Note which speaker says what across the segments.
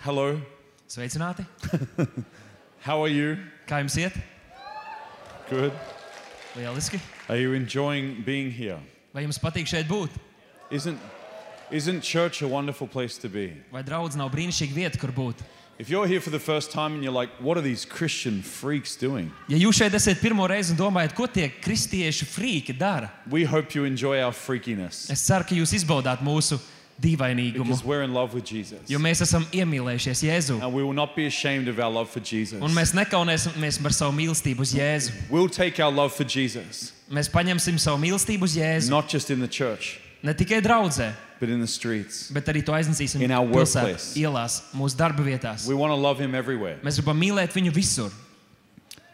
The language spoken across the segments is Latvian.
Speaker 1: Hello.
Speaker 2: Sveicināti!
Speaker 1: How are you?
Speaker 2: Kā jums iet?
Speaker 1: Good.
Speaker 2: Lieliski!
Speaker 1: Are you enjoying being here?
Speaker 2: Vai jums patīk šeit būt?
Speaker 1: Isn't, isn't church a wonderful place to be?
Speaker 2: Vai draudz nav brīnišķīga vieta, kur būt?
Speaker 1: If you're here for the first time and you're like, what are these Christian freaks doing?
Speaker 2: Ja jūs šeit esat pirmo reizi un domājat, ko tie kristiešu frīki dara,
Speaker 1: We hope you enjoy our freakiness
Speaker 2: es ceru, ka jūs izbaudāt mūsu dīvainīgumu.
Speaker 1: because we're in love with Jesus.
Speaker 2: Jo mēs esam iemīlējušies Jēzū.
Speaker 1: And we will not be ashamed of our love for
Speaker 2: Un
Speaker 1: Jesus.
Speaker 2: mēs nekaunēsimies par savu mīlestību uz Jēzu.
Speaker 1: We'll take our love for Jesus,
Speaker 2: Mēs paņemsim savu mīlestību uz Jēzu
Speaker 1: not just in the church,
Speaker 2: ne tikai draudzē,
Speaker 1: but in the streets.
Speaker 2: bet arī to aiznesīsim
Speaker 1: In our
Speaker 2: pilsētā,
Speaker 1: workplace.
Speaker 2: ielās, mūsu darba vietās.
Speaker 1: We want to love Him everywhere.
Speaker 2: Mēs gribam mīlēt viņu visur.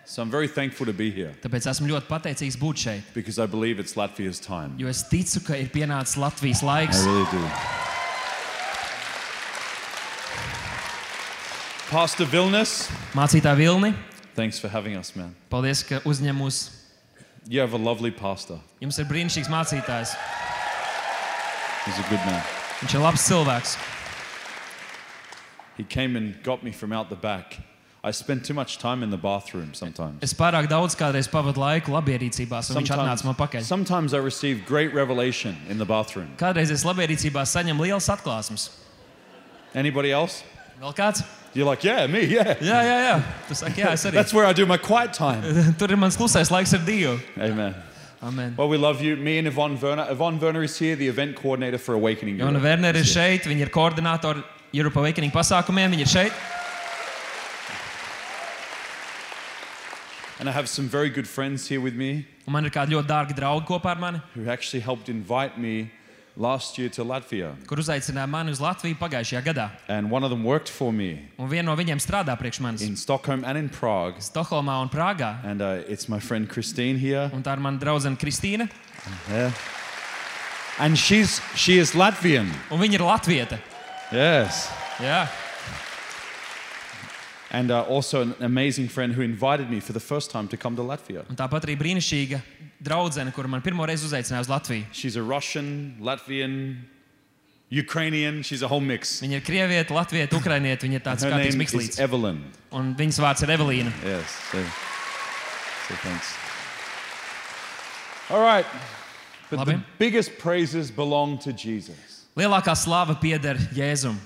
Speaker 1: So I'm very thankful to be here
Speaker 2: Tāpēc esmu ļoti pateicīgs būt šeit,
Speaker 1: because I believe it's Latvia's time.
Speaker 2: jo es ticu, ka ir pienācis Latvijas laiks.
Speaker 1: I really do. Pastor Vilnius,
Speaker 2: Mācītāja Vilni,
Speaker 1: thanks for having us, man.
Speaker 2: paldies, ka uzņem mūs.
Speaker 1: You have a lovely pastor.
Speaker 2: Jums ir brīnišķīgs mācītājs.
Speaker 1: He's a good man.
Speaker 2: Viņš ir labs cilvēks.
Speaker 1: He came and got me from out the back. I spend too much time in the bathroom sometimes.
Speaker 2: Es pārāk daudz kādreiz pavadu laiku labierīcībās, un viņš
Speaker 1: Sometimes,
Speaker 2: atnāca man pakaļ.
Speaker 1: sometimes I receive great revelation in the bathroom.
Speaker 2: Kādreiz es labierīcībās saņemu lielas atklāsmes.
Speaker 1: Anybody else?
Speaker 2: Vēl kāds?
Speaker 1: You're like, yeah, me, yeah.
Speaker 2: Jā, jā, jā. Tu saki, jā, es arī.
Speaker 1: That's where I do my quiet time.
Speaker 2: Tur ir mans klusais laiks ar Dievu.
Speaker 1: Amen.
Speaker 2: Amen.
Speaker 1: Well, we love you. Me and Yvonne Werner. Yvonne Werner is here, the event coordinator for Awakening.
Speaker 2: Jona
Speaker 1: Europe.
Speaker 2: Vernere ir šeit, viņa ir koordinātori Europa Awakening pasākumiem. Viņa ir šeit.
Speaker 1: And I have some very good friends here with me.
Speaker 2: Un man ir kādi ļoti dārgi draugi kopā ar mani,
Speaker 1: who actually helped invite me last year to Latvia.
Speaker 2: kur uzaicināja mani uz Latviju pagājušajā gadā.
Speaker 1: And one of them worked for me
Speaker 2: Un viena no viņiem strādā priekš manis
Speaker 1: in Stockholm and in Prague.
Speaker 2: Stokholmā un Prāgā.
Speaker 1: And uh, it's my friend Christine here.
Speaker 2: Un tā ir mana draudzene Kristīna.
Speaker 1: Yeah. And she's she is Latvian.
Speaker 2: Un viņa ir Latvija.
Speaker 1: Yes.
Speaker 2: Jā,
Speaker 1: And uh, also an amazing friend who invited me for the first time to come to Latvia.
Speaker 2: un tāpat arī brīnišķīga draudzene, kur man pirmo reizi uzaicināja uz Latviju.
Speaker 1: She's a Russian, Latvian, Ukrainian. She's a whole mix.
Speaker 2: Viņa ir krieviete, latvieta, ukrainiete. Viņa ir tāds
Speaker 1: Her
Speaker 2: kā tāds
Speaker 1: name is E-
Speaker 2: mikslīts.
Speaker 1: Evelyn.
Speaker 2: Un viņas vārds ir Evelīna.
Speaker 1: Yes. So, so thanks. All right. But the
Speaker 2: Labi.
Speaker 1: biggest praises belong to Jesus.
Speaker 2: Lielākā slava pieder Jēzum.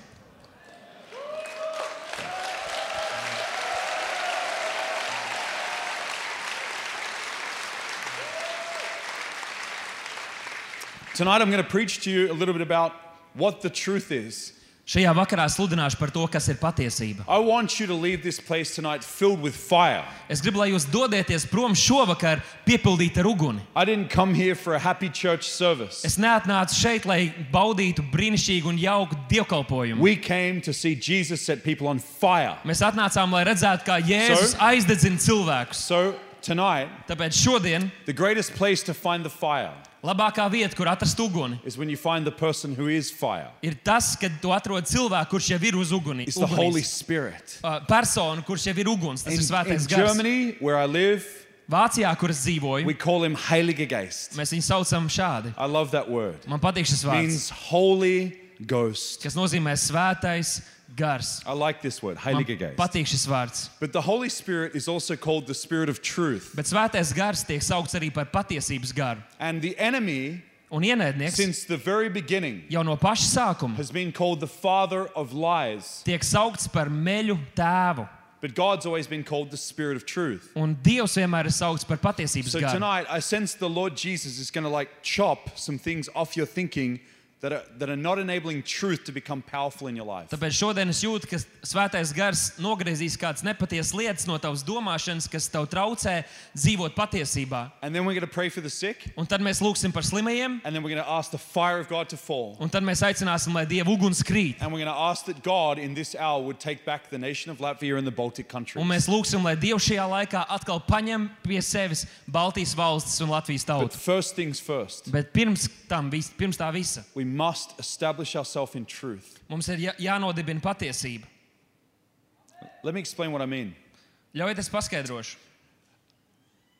Speaker 1: Tonight I'm going to preach to you a little bit about what the truth is.
Speaker 2: Šajā vakarā sludināšu par to, kas ir patiesība.
Speaker 1: I want you to leave this place tonight filled with fire.
Speaker 2: Es gribu, lai jūs dodaties prom šovakar, piepildīti ar uguni.
Speaker 1: I didn't come here for a happy church service.
Speaker 2: Es neatnācu šeit, lai baudītu brīnišķīgu un jauku dievkalpojumu.
Speaker 1: We came to see Jesus set people on fire.
Speaker 2: Mēs atnācām, lai redzētu, kā Jēzus
Speaker 1: So?
Speaker 2: aizdedzina cilvēkus.
Speaker 1: So tonight,
Speaker 2: Tāpēc šodien
Speaker 1: the greatest place to find the fire
Speaker 2: Labākā vieta, kur atrast uguni,
Speaker 1: is when you find the person who is fire.
Speaker 2: ir tas, kad tu atrod cilvēku, kurš jau ir uz uguni.
Speaker 1: It's the Holy
Speaker 2: ugunīs.
Speaker 1: Spirit.
Speaker 2: Uh, Personu, kurš jau ir uguns, tas
Speaker 1: In,
Speaker 2: ir
Speaker 1: in
Speaker 2: svētais gars.
Speaker 1: Germany, where I live,
Speaker 2: Vācijā, kur es
Speaker 1: we
Speaker 2: dzīvoju,
Speaker 1: call him Heiliger Geist.
Speaker 2: mēs viņu saucam šādi.
Speaker 1: I love that word.
Speaker 2: Man patīk šis vārds,
Speaker 1: means Holy Ghost.
Speaker 2: kas nozīmē svētais gars.
Speaker 1: I like this word,
Speaker 2: Man
Speaker 1: Heiliger Geist.
Speaker 2: patīk šis vārds.
Speaker 1: But the Holy Spirit is also called the Spirit of truth.
Speaker 2: Bet svētais gars tiek saukts arī par patiesības garu.
Speaker 1: And the enemy,
Speaker 2: Un ienaidnieks
Speaker 1: since the very beginning,
Speaker 2: jau no paša sākuma
Speaker 1: has been called the father of lies.
Speaker 2: tiek saukts par meļu tēvu.
Speaker 1: But God's always been called the Spirit of truth.
Speaker 2: Un Dievs vienmēr ir saukts par patiesības
Speaker 1: So
Speaker 2: garu.
Speaker 1: tonight, I sense the Lord Jesus is going to like chop some things off your thinking that are, that are not enabling truth to become powerful in your life.
Speaker 2: Tāpēc šodien es jūtu, ka svētais gars nogriezīs kādas nepatiesas lietas no tavas domāšanas, kas tev traucē dzīvot patiesībā.
Speaker 1: And then we're going to pray for the sick,
Speaker 2: Un tad mēs lūgsim par slimajiem,
Speaker 1: and then we're going to ask the fire of God to fall.
Speaker 2: un tad mēs aicināsim, lai Dieva uguns krīt.
Speaker 1: And we're going to ask that God in this hour would take back the nation of Latvia and the Baltic countries.
Speaker 2: Un mēs lūgsim, lai Dievs šajā laikā atkal paņem pie sevis Baltijas valstis un Latvijas
Speaker 1: But
Speaker 2: tautu.
Speaker 1: first things first,
Speaker 2: Bet pirms, tam, vis- pirms tā visa
Speaker 1: we must establish ourselves in truth.
Speaker 2: mums ir jā- jānodibina patiesība.
Speaker 1: Let me explain what I mean.
Speaker 2: Ļaujiet, es paskaidrošu.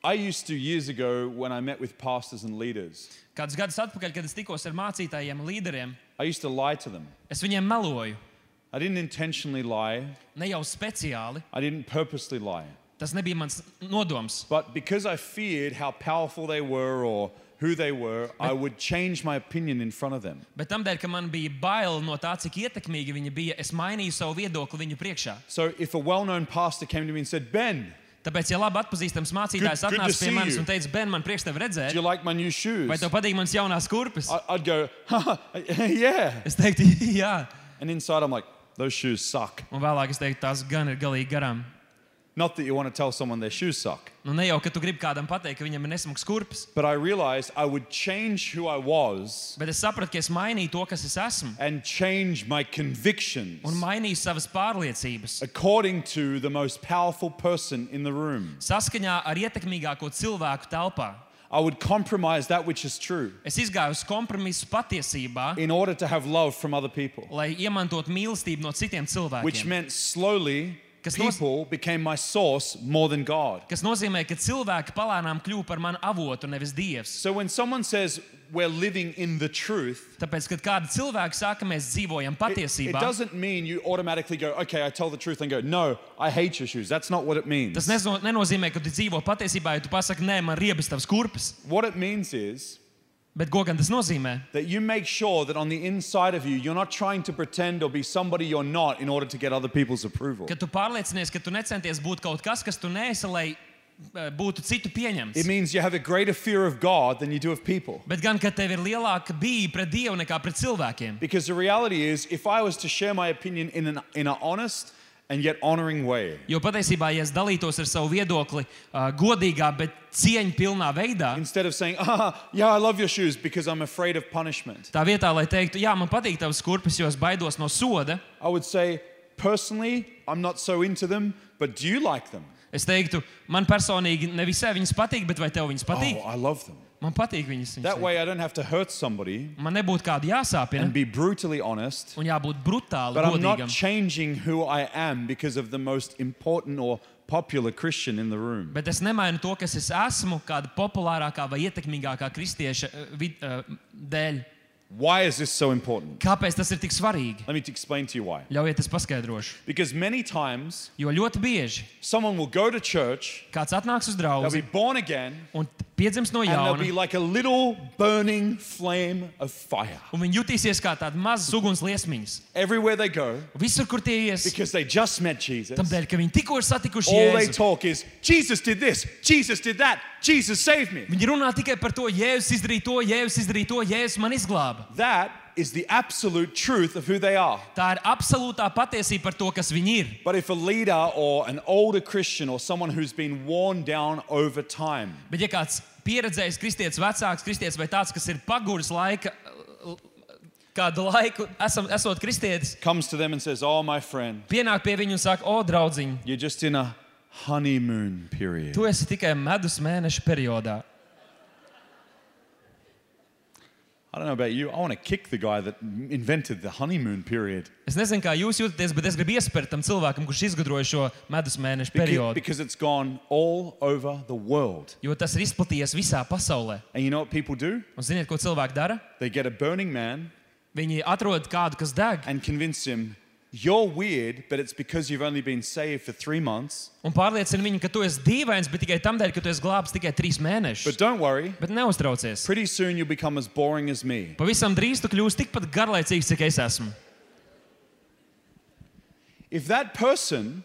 Speaker 1: I used to, years ago, when I met with pastors and leaders,
Speaker 2: Kādus gadus atpakaļ, kad es tikos ar mācītājiem, līderiem,
Speaker 1: I used to lie to them.
Speaker 2: es viņiem meloju.
Speaker 1: I didn't intentionally lie.
Speaker 2: Ne jau speciāli,
Speaker 1: I didn't purposely lie.
Speaker 2: tas nebija mans nodoms.
Speaker 1: But because I feared how powerful they were or who they were, I would change my opinion in front of them.
Speaker 2: Bet tam dēļ, ka man bija bail no tā, cik ietekmīgi viņi bija, es mainīju savu viedokli viņu priekšā.
Speaker 1: So if a well known pastor came to me and said, Ben,
Speaker 2: Tāpēc, ja labi atpazīstams mācītājs
Speaker 1: Good- good to
Speaker 2: atnāca pie
Speaker 1: see
Speaker 2: manis
Speaker 1: you.
Speaker 2: un teica, Ben, man priekš
Speaker 1: do
Speaker 2: tev redzēt,
Speaker 1: you like my new shoes?
Speaker 2: vai tev patīk mans jaunās kurpes?
Speaker 1: I- I'd go, "Haha, yeah.
Speaker 2: Es teiktu, jā.
Speaker 1: And inside I'm like, those shoes suck.
Speaker 2: Un vēlāk es teiktu, tās gan ir galīgi garām.
Speaker 1: Not that you want to tell someone their shoes suck.
Speaker 2: Nu, ne jau, ka tu gribi kādam pateikt, ka viņam ir nesmags kurpes,
Speaker 1: But I realized I would change who I was
Speaker 2: bet es sapratu, ka es mainīju to, kas es esmu,
Speaker 1: and change my convictions
Speaker 2: un mainīju savas pārliecības.
Speaker 1: according to the most powerful person in the room.
Speaker 2: Saskaņā ar ietekmīgāko cilvēku telpā.
Speaker 1: I would compromise that which is true
Speaker 2: Es izgāju uz kompromisu patiesībā,
Speaker 1: in order to have love from other people,
Speaker 2: lai iemantotu mīlestību no citiem
Speaker 1: which
Speaker 2: cilvēkiem.
Speaker 1: meant slowly
Speaker 2: Kas nos-
Speaker 1: people became my source more than God.
Speaker 2: Tas nozīmē, ka cilvēki palēnām kļuvu par manu avotu, nevis dievs.
Speaker 1: So when someone says we're living in the truth,
Speaker 2: Tāpēc, kad kāda cilvēka saka, mēs dzīvojam
Speaker 1: it, it
Speaker 2: patiesībā,
Speaker 1: doesn't mean you automatically go, okay, I tell the truth and go, no, I hate your shoes. That's not what it means.
Speaker 2: tas nezo- nenozīmē, ka tu dzīvo patiesībā, ja tu pasaki, nē, man riebas tavs kurpes.
Speaker 1: What it means is
Speaker 2: Bet ko gan tas nozīmē?
Speaker 1: that you make sure that on the inside of you, you're not trying to pretend or be somebody you're not in order to get other people's approval.
Speaker 2: Kad tu pārliecinies, ka tu necenties būt kaut kas, kas tu neesi, lai eh, būtu citu
Speaker 1: It
Speaker 2: pieņemts.
Speaker 1: means you have a greater fear of God than you do of people.
Speaker 2: Bet gan, ka tev ir lielāka bija pret Dievu nekā pret cilvēkiem.
Speaker 1: Because the reality is, if I was to share my opinion in an, in an honest and yet honoring way,
Speaker 2: Jo patiesībā, ja es dalītos ar savu viedokli uh, godīgā, bet cieņpilnā veidā,
Speaker 1: instead of saying, ah, yeah, I love your shoes because I'm afraid of punishment,
Speaker 2: tā vietā, lai teiktu, jā, man patīk tavs kurpes, jo es baidos no soda,
Speaker 1: I would say, personally, I'm not so into them, but do you like them?
Speaker 2: es teiktu, man personīgi nevisai viņas patīk, bet vai tev viņas patīk?
Speaker 1: Oh, I love them.
Speaker 2: Man patīk viņas. viņas
Speaker 1: That way I don't have to hurt somebody
Speaker 2: ir. Man nebūtu kāda jāsāpina
Speaker 1: and be brutally honest.
Speaker 2: un jābūt brutāli
Speaker 1: But I'm not
Speaker 2: godīgam.
Speaker 1: changing who I am because of the most important or popular Christian in the room.
Speaker 2: Bet es nemainu to, kas es esmu, kāda populārākā vai ietekmīgākā kristieša eh, vid, eh, dēļ.
Speaker 1: Why is this so important?
Speaker 2: Kāpēc tas ir tik svarīgi?
Speaker 1: Let me explain to you why.
Speaker 2: Ļaujiet, es paskaidrošu.
Speaker 1: Because many times
Speaker 2: Jo ļoti bieži
Speaker 1: someone will go to church,
Speaker 2: kāds atnāks uz
Speaker 1: they'll
Speaker 2: draugu
Speaker 1: be born again,
Speaker 2: un piedzims no
Speaker 1: and there'll be
Speaker 2: jauna.
Speaker 1: like a little burning flame of fire
Speaker 2: Un viņi jutīsies kā tādas mazas uguns liesmiņas.
Speaker 1: everywhere they go
Speaker 2: Visur, kur tie ies,
Speaker 1: because they just met Jesus.
Speaker 2: tam dēļ, ka viņi tikko ir satikuši
Speaker 1: All they
Speaker 2: Jēzu.
Speaker 1: talk is Jesus did this, Jesus did that, Jesus saved me.
Speaker 2: Viņi runā tikai par to, Jēzus izdarīja to, Jēzus izdarīja to, Jēzus man izglāba.
Speaker 1: That is the absolute truth of who they are.
Speaker 2: Tā ir absolūtā patiesība par to, kas viņi ir.
Speaker 1: But if a leader or an older Christian or someone who's been worn down over time
Speaker 2: Bet, ja kāds pieredzējis kristietis, vecāks kristietis vai tāds, kas ir paguris laika, l- kādu laiku esam, esot kristietis,
Speaker 1: comes to them and says, Oh, my friend,
Speaker 2: pienāk pie viņa un saka, o, draugiņ,
Speaker 1: you're just in a honeymoon period.
Speaker 2: tu esi tikai medus mēneša periodā.
Speaker 1: I don't know about you. I want to kick the guy that invented the honeymoon period
Speaker 2: Es nezinu, kā jūs jūtaties, bet es gribu iespērt tam cilvēkam, kurš izgudroja šo medus mēneša
Speaker 1: because,
Speaker 2: periodu.
Speaker 1: because it's gone all over the world.
Speaker 2: Jo tas ir izplatījies visā pasaulē.
Speaker 1: And you know what people do?
Speaker 2: Un ziniet, ko cilvēki dara?
Speaker 1: They get a burning man
Speaker 2: Viņi atrod kādu, kas deg,
Speaker 1: and convince him, You're weird, but it's because you've only been saved for three months.
Speaker 2: un pārliecina viņu, ka tu esi dīvains, bet tikai tam dēļ, ka tu esi glābs tikai trīs
Speaker 1: But
Speaker 2: mēnešus.
Speaker 1: don't worry,
Speaker 2: Bet neuztraucies.
Speaker 1: pretty soon you'll become as boring as me.
Speaker 2: Pavisam drīz tu kļūsi tikpat garlaicīgs, cik es esmu.
Speaker 1: If that person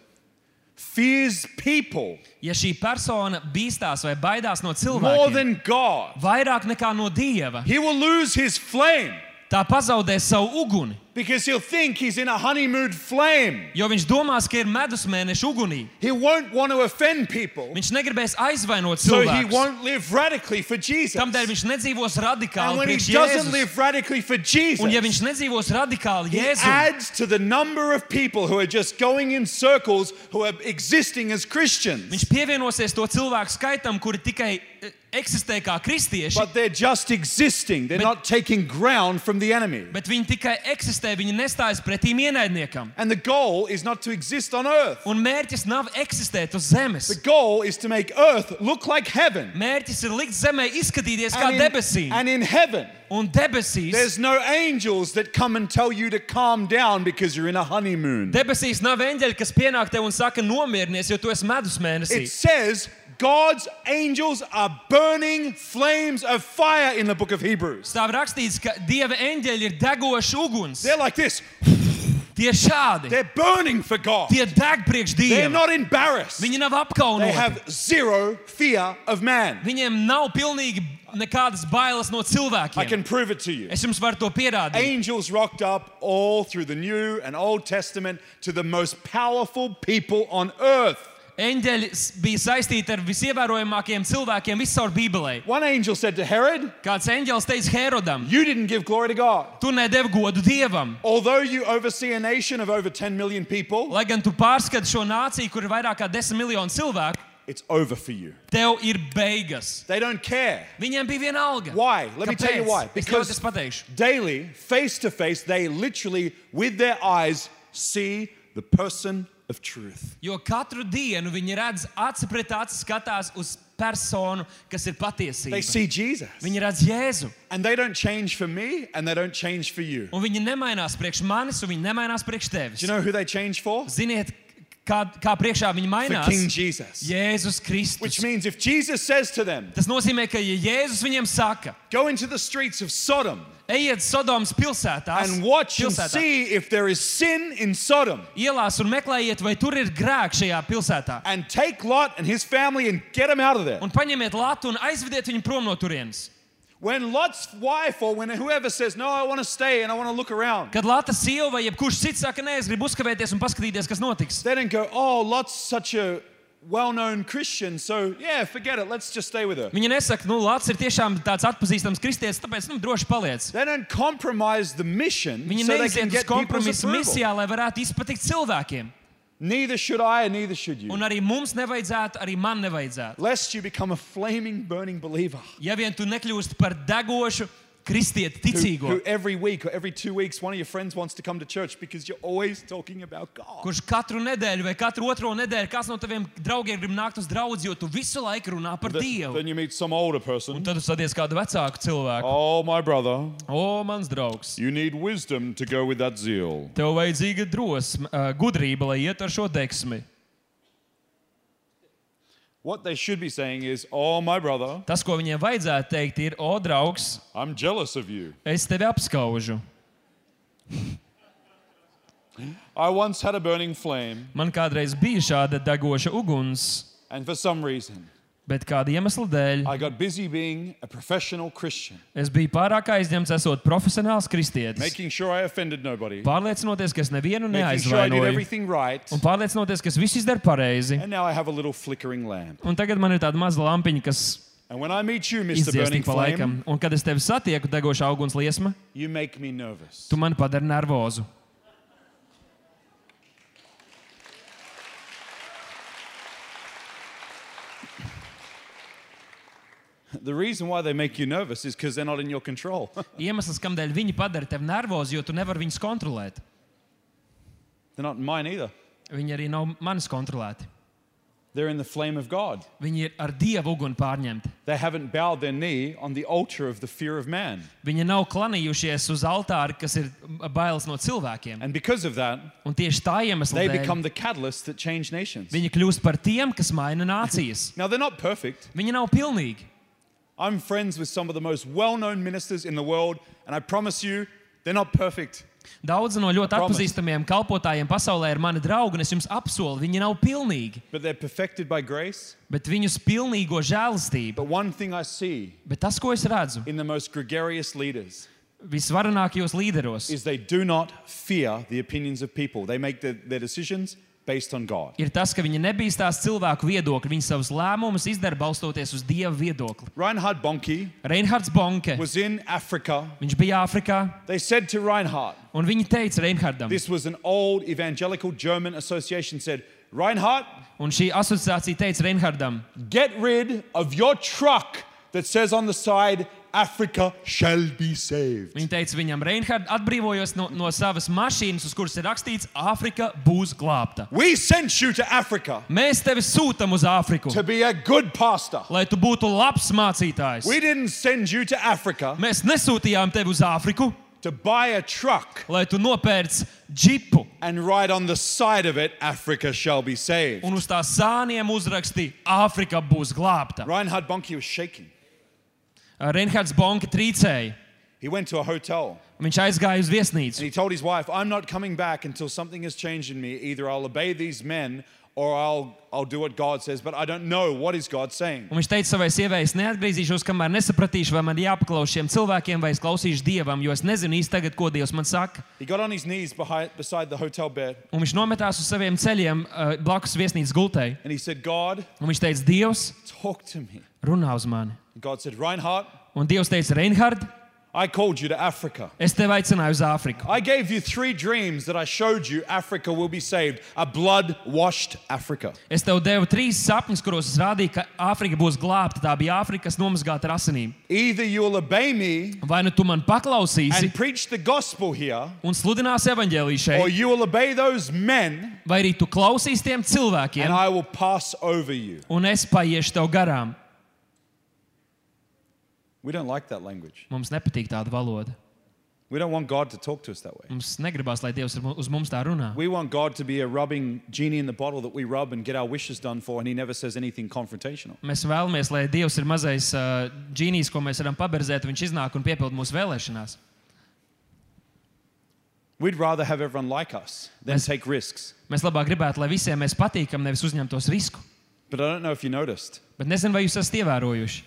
Speaker 1: fears people
Speaker 2: Ja šī persona bīstās vai baidās no
Speaker 1: more
Speaker 2: cilvēkiem,
Speaker 1: than God,
Speaker 2: vairāk nekā no dieva,
Speaker 1: he will lose his flame
Speaker 2: tā pazaudēs savu uguni.
Speaker 1: because he'll think he's in a honeymoon flame.
Speaker 2: Jo viņš domās, ka ir medus mēneša ugunī.
Speaker 1: He won't want to offend people,
Speaker 2: Viņš negribēs aizvainot
Speaker 1: so he
Speaker 2: cilvēku.
Speaker 1: won't live radically for Jesus.
Speaker 2: Tādēļ viņš nedzīvos
Speaker 1: And
Speaker 2: radikāli.
Speaker 1: when he
Speaker 2: priekš
Speaker 1: doesn't
Speaker 2: Jēzus.
Speaker 1: live radically for Jesus,
Speaker 2: Un ja viņš nedzīvos radikāli,
Speaker 1: he
Speaker 2: Jēzus,
Speaker 1: adds to the number of people who are just going in circles who are existing as Christians,
Speaker 2: viņš pievienosies to cilvēku skaitam, kuri tikai eh, eksistē kā kristieši.
Speaker 1: but they're just existing. They're
Speaker 2: But-
Speaker 1: not taking ground from the enemy.
Speaker 2: Bet viņi tikai eksistē eksistē, viņi nestājas pretīm ienaidniekam.
Speaker 1: And the goal is not to exist on earth.
Speaker 2: Un mērķis nav eksistēt uz zemes.
Speaker 1: The goal is to make earth look like heaven.
Speaker 2: Mērķis ir likt zemē izskatīties kā
Speaker 1: And in,
Speaker 2: debesīm.
Speaker 1: and in heaven,
Speaker 2: Un debesīs,
Speaker 1: there's no angels that come and tell you to calm down because you're in a honeymoon.
Speaker 2: debesīs nav eņģeļi, kas pienāk tev un saka, nomierinies, jo tu esi medus mēnesī.
Speaker 1: It says God's angels are burning flames of fire in the book of Hebrews.
Speaker 2: Stāv rakstīts, ka dieva eņģeļi ir degošs uguns.
Speaker 1: They're like this.
Speaker 2: Tie šādi.
Speaker 1: They're burning for God.
Speaker 2: Tie deg priekš
Speaker 1: They're
Speaker 2: dieva.
Speaker 1: not embarrassed.
Speaker 2: Viņi nav
Speaker 1: They
Speaker 2: apkaunoti.
Speaker 1: have zero fear of man.
Speaker 2: Viņiem nav pilnīgi nekādas bailes no
Speaker 1: I
Speaker 2: cilvēkiem.
Speaker 1: can prove it to you.
Speaker 2: Es jums varu to pierādīt.
Speaker 1: Angels rocked up all through the New and Old Testament to the most powerful people on earth.
Speaker 2: Eņģeļi s- bija saistīti ar visievērojamākajiem cilvēkiem visur Bībelē.
Speaker 1: One angel said to Herod,
Speaker 2: Kāds eņģelis teica Herodam,
Speaker 1: You didn't give glory to God.
Speaker 2: tu nedevi godu dievam.
Speaker 1: Although you oversee a nation of over 10 million people,
Speaker 2: Lai gan tu pārskati šo nāciju, kur ir vairāk kā 10 miljoni cilvēku,
Speaker 1: it's over for you.
Speaker 2: tev ir beigas.
Speaker 1: They don't care.
Speaker 2: Viņiem bija viena alga.
Speaker 1: Why? Let me tell you why.
Speaker 2: Es
Speaker 1: Because-
Speaker 2: tev tas pateikšu.
Speaker 1: Daily, face to face, they literally, with their eyes, see the person of truth.
Speaker 2: Jo katru dienu viņi redz aci pret aci, skatās uz personu, kas ir
Speaker 1: They
Speaker 2: patiesība.
Speaker 1: see Jesus.
Speaker 2: Viņi redz Jēzu,
Speaker 1: And they don't change for me, and they don't change for you. Do
Speaker 2: un viņi nemainās priekš manis, un viņi nemainās priekš tevis.
Speaker 1: you know who they change for?
Speaker 2: Ziniet, kā, kā priekšā viņi
Speaker 1: For King
Speaker 2: mainās?
Speaker 1: Jesus.
Speaker 2: Jēzus Kristus.
Speaker 1: Which means if Jesus says to them,
Speaker 2: Tas nozīmē, ka ja Jēzus viņiem saka,
Speaker 1: go into the streets of Sodom
Speaker 2: ejiet Sodomas pilsētās,
Speaker 1: and watch and
Speaker 2: pilsētā,
Speaker 1: see if there is sin in Sodom,
Speaker 2: ielās un meklējiet, vai tur ir grēks šajā pilsētā.
Speaker 1: and take Lot and his family and get him out of there.
Speaker 2: Un paņemiet latu un aizvediet viņu prom no turienes.
Speaker 1: When Lot's wife or when whoever says, no, I want to stay and I want to look around,
Speaker 2: Kad Lata sieva vai jebkurš cits saka, nē, es gribu uzkavēties un paskatīties, kas notiks.
Speaker 1: they don't go, oh, Lot's such a well known Christian, so yeah, forget it, let's just stay with her.
Speaker 2: Viņa nesaka, nu, Lācis ir tiešām tāds atpazīstams kristietis, tāpēc nu, droši paliec.
Speaker 1: They don't compromise the mission
Speaker 2: Viņa
Speaker 1: so they can
Speaker 2: neiziet uz
Speaker 1: get people's
Speaker 2: kompromisu
Speaker 1: approval.
Speaker 2: misijā, lai varētu izpatikt cilvēkiem.
Speaker 1: Neither should I and neither should you.
Speaker 2: Un arī mums nevajadzētu, arī man nevajadzētu.
Speaker 1: Lest you become a flaming, burning believer.
Speaker 2: Ja vien tu nekļūsti par degošu kristieti,
Speaker 1: who-
Speaker 2: ticīgo,
Speaker 1: who every week or every two weeks one of your friends wants to come to church because you're always talking about God.
Speaker 2: kurš katru nedēļu vai katru otro nedēļu kāds no taviem draugiem grib nākt uz draugu, jo tu visu laiku runā par
Speaker 1: Th-
Speaker 2: Dievu.
Speaker 1: Then you meet some older person.
Speaker 2: Tad tu sadies kādu vecāku cilvēku.
Speaker 1: Oh, my brother,
Speaker 2: O, mans draugs,
Speaker 1: you need wisdom to go with that zeal.
Speaker 2: tev vajadzīga drosme, ā, gudrība, lai iet ar šo deksmi.
Speaker 1: What they should be saying is, Oh, my brother,
Speaker 2: Tas, ko viņiem vajadzētu teikt, ir, o, draugs,
Speaker 1: I'm jealous of you.
Speaker 2: es tevi apskaužu.
Speaker 1: I once had a burning flame,
Speaker 2: Man kādreiz bija šāda degoša uguns,
Speaker 1: and for some reason,
Speaker 2: bet kāda iemesla dēļ
Speaker 1: I got busy being a professional Christian,
Speaker 2: es biju pārāk aizņemts, esot profesionāls kristietis.
Speaker 1: making sure I offended nobody,
Speaker 2: Pārliecinoties, ka es nevienu
Speaker 1: making sure I did
Speaker 2: neaizvainoju.
Speaker 1: everything right.
Speaker 2: Un pārliecinoties, ka es visu izdaru pareizi.
Speaker 1: And now I have a little flickering lamp.
Speaker 2: Un tagad man ir tāda maza lampiņa, kas
Speaker 1: And when I meet you, Mr.
Speaker 2: izdzies
Speaker 1: Burning
Speaker 2: tik pa laikam.
Speaker 1: Flame,
Speaker 2: Un kad es tevi satieku, degoša auguns liesma,
Speaker 1: you make me nervous.
Speaker 2: tu mani padari nervozu.
Speaker 1: The reason why they make you nervous is because they're not in your control.
Speaker 2: Iemesls, kādēļ viņi padara tevi nervozu, jo tu nevari viņus kontrolēt.
Speaker 1: they're not in mine either.
Speaker 2: Viņi arī nav manis kontrolēti.
Speaker 1: They're in the flame of God.
Speaker 2: Viņi ir ar dievu uguni pārņemti.
Speaker 1: They haven't bowed their knee on the altar of the fear of man.
Speaker 2: Viņi nav klanījušies uz altāra, kas ir bailes no cilvēkiem.
Speaker 1: And because of that,
Speaker 2: Un tieši tā iemesla
Speaker 1: they
Speaker 2: dēļ
Speaker 1: become the catalyst that change nations.
Speaker 2: viņi kļūst par tiem, kas maina nācijas.
Speaker 1: Now, they're not perfect.
Speaker 2: Viņi nav pilnīgi.
Speaker 1: I'm friends with some of the most well known ministers in the world, and I promise you, they're not perfect.
Speaker 2: Daudzi no ļoti
Speaker 1: Promise.
Speaker 2: atpazīstamiem kalpotājiem pasaulē ir mani draugi, un es jums apsolu, viņi nav pilnīgi,
Speaker 1: But they're perfected by grace.
Speaker 2: bet viņus pilnīgo žēlastību.
Speaker 1: But one thing I see
Speaker 2: Bet tas, ko es redzu
Speaker 1: in the most gregarious leaders
Speaker 2: visvarenākajos līderos,
Speaker 1: is they do not fear the opinions of people, they make their, their decisions based on God.
Speaker 2: ir tas, ka viņi nebīstās cilvēku viedokļu. Viņi savus lēmumus izdara balstoties uz dieva viedokli.
Speaker 1: Reinhard Bonnke
Speaker 2: Reinhards Bonke,
Speaker 1: was in Africa.
Speaker 2: viņš bija Āfrikā,
Speaker 1: They said to Reinhard,
Speaker 2: un viņi teica Reinhardam,
Speaker 1: this was an old evangelical German association said, Reinhard,
Speaker 2: un šī asociācija teica Reinhardam,
Speaker 1: get rid of your truck that says on the side Africa shall be saved.
Speaker 2: Viņa teica viņam, Reinhard, atbrīvojos no, no savas mašīnas, uz kuras ir rakstīts, Āfrika būs glābta.
Speaker 1: We sent you to Africa
Speaker 2: Mēs tevi sūtām uz Āfriku,
Speaker 1: to be a good pastor.
Speaker 2: lai tu būtu labs mācītājs.
Speaker 1: We didn't send you to Africa
Speaker 2: Mēs nesūtījām tevi uz Āfriku,
Speaker 1: to buy a truck
Speaker 2: lai tu nopērc džipu
Speaker 1: and write on the side of it, Africa shall be saved.
Speaker 2: un uz tā sāniem uzrakstīja, Āfrika būs glābta.
Speaker 1: Reinhard Bonnke was shaking.
Speaker 2: Reinhards Bonke trīcēja.
Speaker 1: He went to a hotel
Speaker 2: Viņš aizgāja uz
Speaker 1: and
Speaker 2: viesnīcu.
Speaker 1: he told his wife, I'm not coming back until something has changed in me. Either I'll obey these men or I'll, I'll do what God says, but I don't know what is God saying.
Speaker 2: Un viņš teica savai sievai, es neatgriezīšos, kamēr nesapratīšu, vai man jāpaklaus šiem cilvēkiem, vai es klausīšu dievam, jo es nezinu īsti tagad, ko dievs man saka.
Speaker 1: He got on his knees behind, beside the hotel bed
Speaker 2: Un viņš nometās uz saviem ceļiem uh, blakus viesnīcas gultai.
Speaker 1: and he said, God,
Speaker 2: Un viņš teica, Dievs,
Speaker 1: talk to me.
Speaker 2: runā uz mani.
Speaker 1: And God said, Reinhard,
Speaker 2: Un Dievs teica, Reinhard,
Speaker 1: I called you to Africa.
Speaker 2: es tevi aicināju uz Āfriku.
Speaker 1: I gave you three dreams that I showed you Africa will be saved, a blood washed Africa.
Speaker 2: Es tev devu trīs sapņus, kuros es rādīju, ka Āfrika būs glābta. Tā bija Āfrika, kas nomazgāta ar asinīm.
Speaker 1: Either you'll obey me
Speaker 2: Vai nu tu man paklausīsi
Speaker 1: and preach the gospel here,
Speaker 2: un sludināsi evaņģēlīju
Speaker 1: or
Speaker 2: šeit,
Speaker 1: you will obey those men
Speaker 2: vai arī tu klausīsi
Speaker 1: and
Speaker 2: tiem cilvēkiem,
Speaker 1: I will pass over you.
Speaker 2: un es paiešu tev garām.
Speaker 1: We don't like that language.
Speaker 2: Mums nepatīk tāda valoda.
Speaker 1: We don't want God to talk to us that way.
Speaker 2: Mums negribās, lai Dievs ar mu- uz mums tā runā.
Speaker 1: We want God to be a rubbing genie in the bottle that we rub and get our wishes done for, and He never says anything confrontational.
Speaker 2: Mēs vēlamies, lai Dievs ir mazais uh, džīnijs, ko mēs varam paberzēt, un viņš iznāk un piepilda mūsu vēlēšanās.
Speaker 1: We'd rather have everyone like us than
Speaker 2: That's-
Speaker 1: take risks.
Speaker 2: Mēs labāk gribētu, lai visiem mēs patīkam, nevis uzņemtos risku.
Speaker 1: But I don't know if you noticed,
Speaker 2: Bet nezinu, vai jūs esat ievērojuši.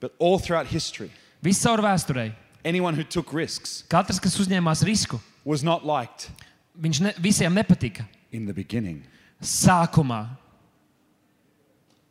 Speaker 1: but all throughout history,
Speaker 2: Viscaur vēsturē
Speaker 1: anyone who took risks
Speaker 2: katrs, kas uzņēmās risku,
Speaker 1: was not liked
Speaker 2: viņš ne, visiem nepatika.
Speaker 1: in the beginning.
Speaker 2: Sākumā,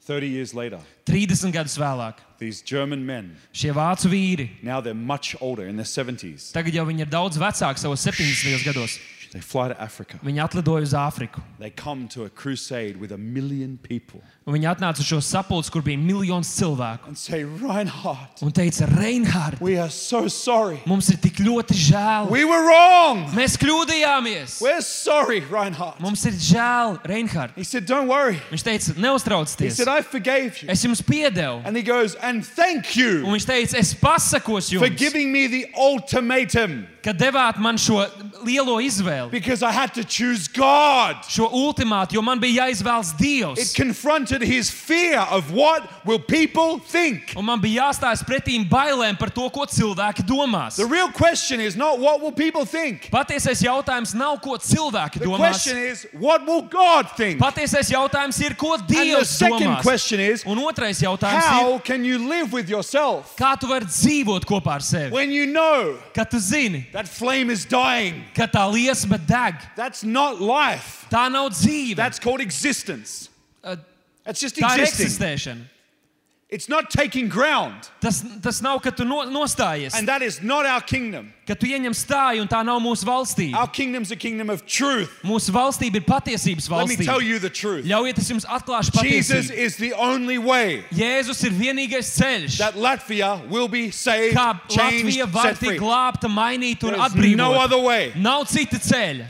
Speaker 1: 30 years later,
Speaker 2: 30 gadus vēlāk,
Speaker 1: these German men,
Speaker 2: šie vācu vīri,
Speaker 1: now they're much older, in their 70s,
Speaker 2: tagad jau viņi ir daudz vecāki, savos 70 gados,
Speaker 1: they fly to Africa.
Speaker 2: viņi atlidoja uz Āfriku.
Speaker 1: They come to a crusade with a million people
Speaker 2: Un Viņi atnāca uz šo sapulci, kur bija miljons cilvēku.
Speaker 1: and say, Reinhardt,
Speaker 2: Un teica, Reinhard,
Speaker 1: we are so sorry.
Speaker 2: mums ir tik ļoti žēl.
Speaker 1: We were wrong.
Speaker 2: Mēs kļūdījāmies.
Speaker 1: We're sorry, Reinhardt.
Speaker 2: Mums ir žēl, Reinhard.
Speaker 1: He said, Don't worry.
Speaker 2: Viņš teica,
Speaker 1: He
Speaker 2: neuztraucieties.
Speaker 1: said, I forgave you.
Speaker 2: Es jums piedevu.
Speaker 1: And he goes, And thank
Speaker 2: Un
Speaker 1: you
Speaker 2: viņš teica, es pasakos
Speaker 1: for
Speaker 2: jums,
Speaker 1: giving me the ultimatum
Speaker 2: ka devāt man šo lielo izvēli,
Speaker 1: because I had to choose God.
Speaker 2: šo ultimātu, jo man bija jāizvēlas
Speaker 1: It
Speaker 2: Dievs.
Speaker 1: confronted his fear of what will people think.
Speaker 2: Un man bija jāstājas pretī bailēm par to, ko cilvēki domās.
Speaker 1: The real question is not what will people think.
Speaker 2: Patiesais jautājums nav, ko cilvēki
Speaker 1: The
Speaker 2: domās.
Speaker 1: question is what will God think?
Speaker 2: Patiesais jautājums ir, ko
Speaker 1: And the
Speaker 2: Dievs
Speaker 1: second
Speaker 2: domā.
Speaker 1: question is
Speaker 2: Un otrais jautājums ir,
Speaker 1: how can you live with yourself
Speaker 2: kā tu vari dzīvot kopā ar sevi?
Speaker 1: when you know
Speaker 2: Kad tu zini,
Speaker 1: that flame is dying?
Speaker 2: ka tā liesma deg,
Speaker 1: That's not life.
Speaker 2: tā nav dzīve.
Speaker 1: That's called existence.
Speaker 2: Uh,
Speaker 1: That's just
Speaker 2: Tā ir
Speaker 1: existing.
Speaker 2: eksistēšana.
Speaker 1: It's not taking ground.
Speaker 2: Tas, tas nav, ka tu no, nostājies,
Speaker 1: And that is not our kingdom.
Speaker 2: ka tu ieņem stāju, un tā nav mūsu valstība.
Speaker 1: Our kingdom's a kingdom of truth.
Speaker 2: Mūsu valstība ir patiesības
Speaker 1: Let me tell
Speaker 2: valstība.
Speaker 1: you the truth.
Speaker 2: Ļaujiet, es jums atklāšu
Speaker 1: Jesus
Speaker 2: patiesību.
Speaker 1: is the only way
Speaker 2: Jēzus ir vienīgais ceļš,
Speaker 1: that Latvia will be saved,
Speaker 2: kā
Speaker 1: changed,
Speaker 2: Latvija var
Speaker 1: set
Speaker 2: tikt
Speaker 1: free.
Speaker 2: glābta, mainīta un
Speaker 1: There is no
Speaker 2: atbrīvota.
Speaker 1: other way.
Speaker 2: Nav cita ceļa.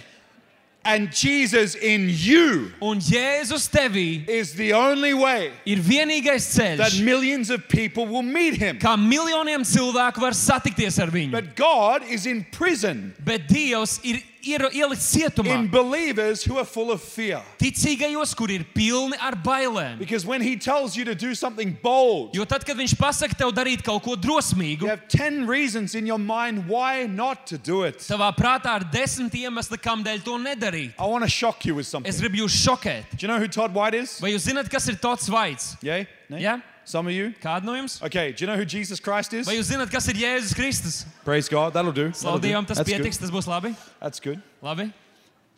Speaker 1: And Jesus in you
Speaker 2: Un Jēzus tevī
Speaker 1: is the only way
Speaker 2: ir vienīgais
Speaker 1: that
Speaker 2: ceļš,
Speaker 1: millions of people will meet him.
Speaker 2: kā miljoniem cilvēku var satikties ar viņu.
Speaker 1: But God is in prison
Speaker 2: Bet Dievs ir iero- ielicis cietumā
Speaker 1: in believers who are full of fear.
Speaker 2: ticīgajos, kur ir pilni ar bailēm.
Speaker 1: Because when he tells you to do something bold,
Speaker 2: Jo tad, kad viņš pasaka tev darīt kaut ko drosmīgu,
Speaker 1: you have 10 reasons in your mind why not to do it.
Speaker 2: savā prātā ir desmit iemesli, kādēļ to nedarīt.
Speaker 1: I want to shock you with something.
Speaker 2: Es
Speaker 1: Do
Speaker 2: gribu jūs šokēt.
Speaker 1: you know who Todd White is?
Speaker 2: Vai jūs zināt, kas ir Tots Vaits?
Speaker 1: Yay? Nay?
Speaker 2: Yeah.
Speaker 1: Some of you?
Speaker 2: Kāda no jums?
Speaker 1: Okay, do you know who Jesus Christ is?
Speaker 2: Vai jūs zināt, kas ir Jēzus Kristus?
Speaker 1: Praise God, that'll do. That'll do.
Speaker 2: Slaudījām, tas
Speaker 1: That's
Speaker 2: pietiks,
Speaker 1: good.
Speaker 2: tas būs labi.
Speaker 1: That's good.
Speaker 2: labi.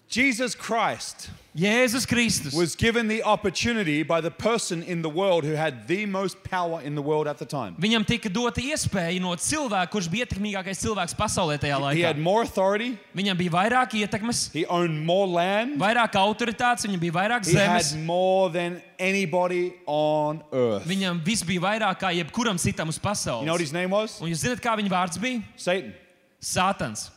Speaker 1: Jesus Christ
Speaker 2: Jēzus Kristus
Speaker 1: was given the opportunity by the person in the world who had the most power in the world at the time.
Speaker 2: Viņam tika dota iespēja no cilvēka, kurš bija ietekmīgākais cilvēks pasaulē tajā
Speaker 1: He
Speaker 2: laikā.
Speaker 1: had more authority,
Speaker 2: Viņam bija vairāk ietekmes,
Speaker 1: he owned more land,
Speaker 2: vairāk autoritātes, viņam bija vairāk
Speaker 1: he had
Speaker 2: zemes.
Speaker 1: more than anybody on earth. You
Speaker 2: Viņam viss bija vairāk kā jebkuram citam uz
Speaker 1: know what
Speaker 2: pasaules.
Speaker 1: his name was?
Speaker 2: Un jūs zināt, kā viņa vārds bija?
Speaker 1: Satan.
Speaker 2: Sātans.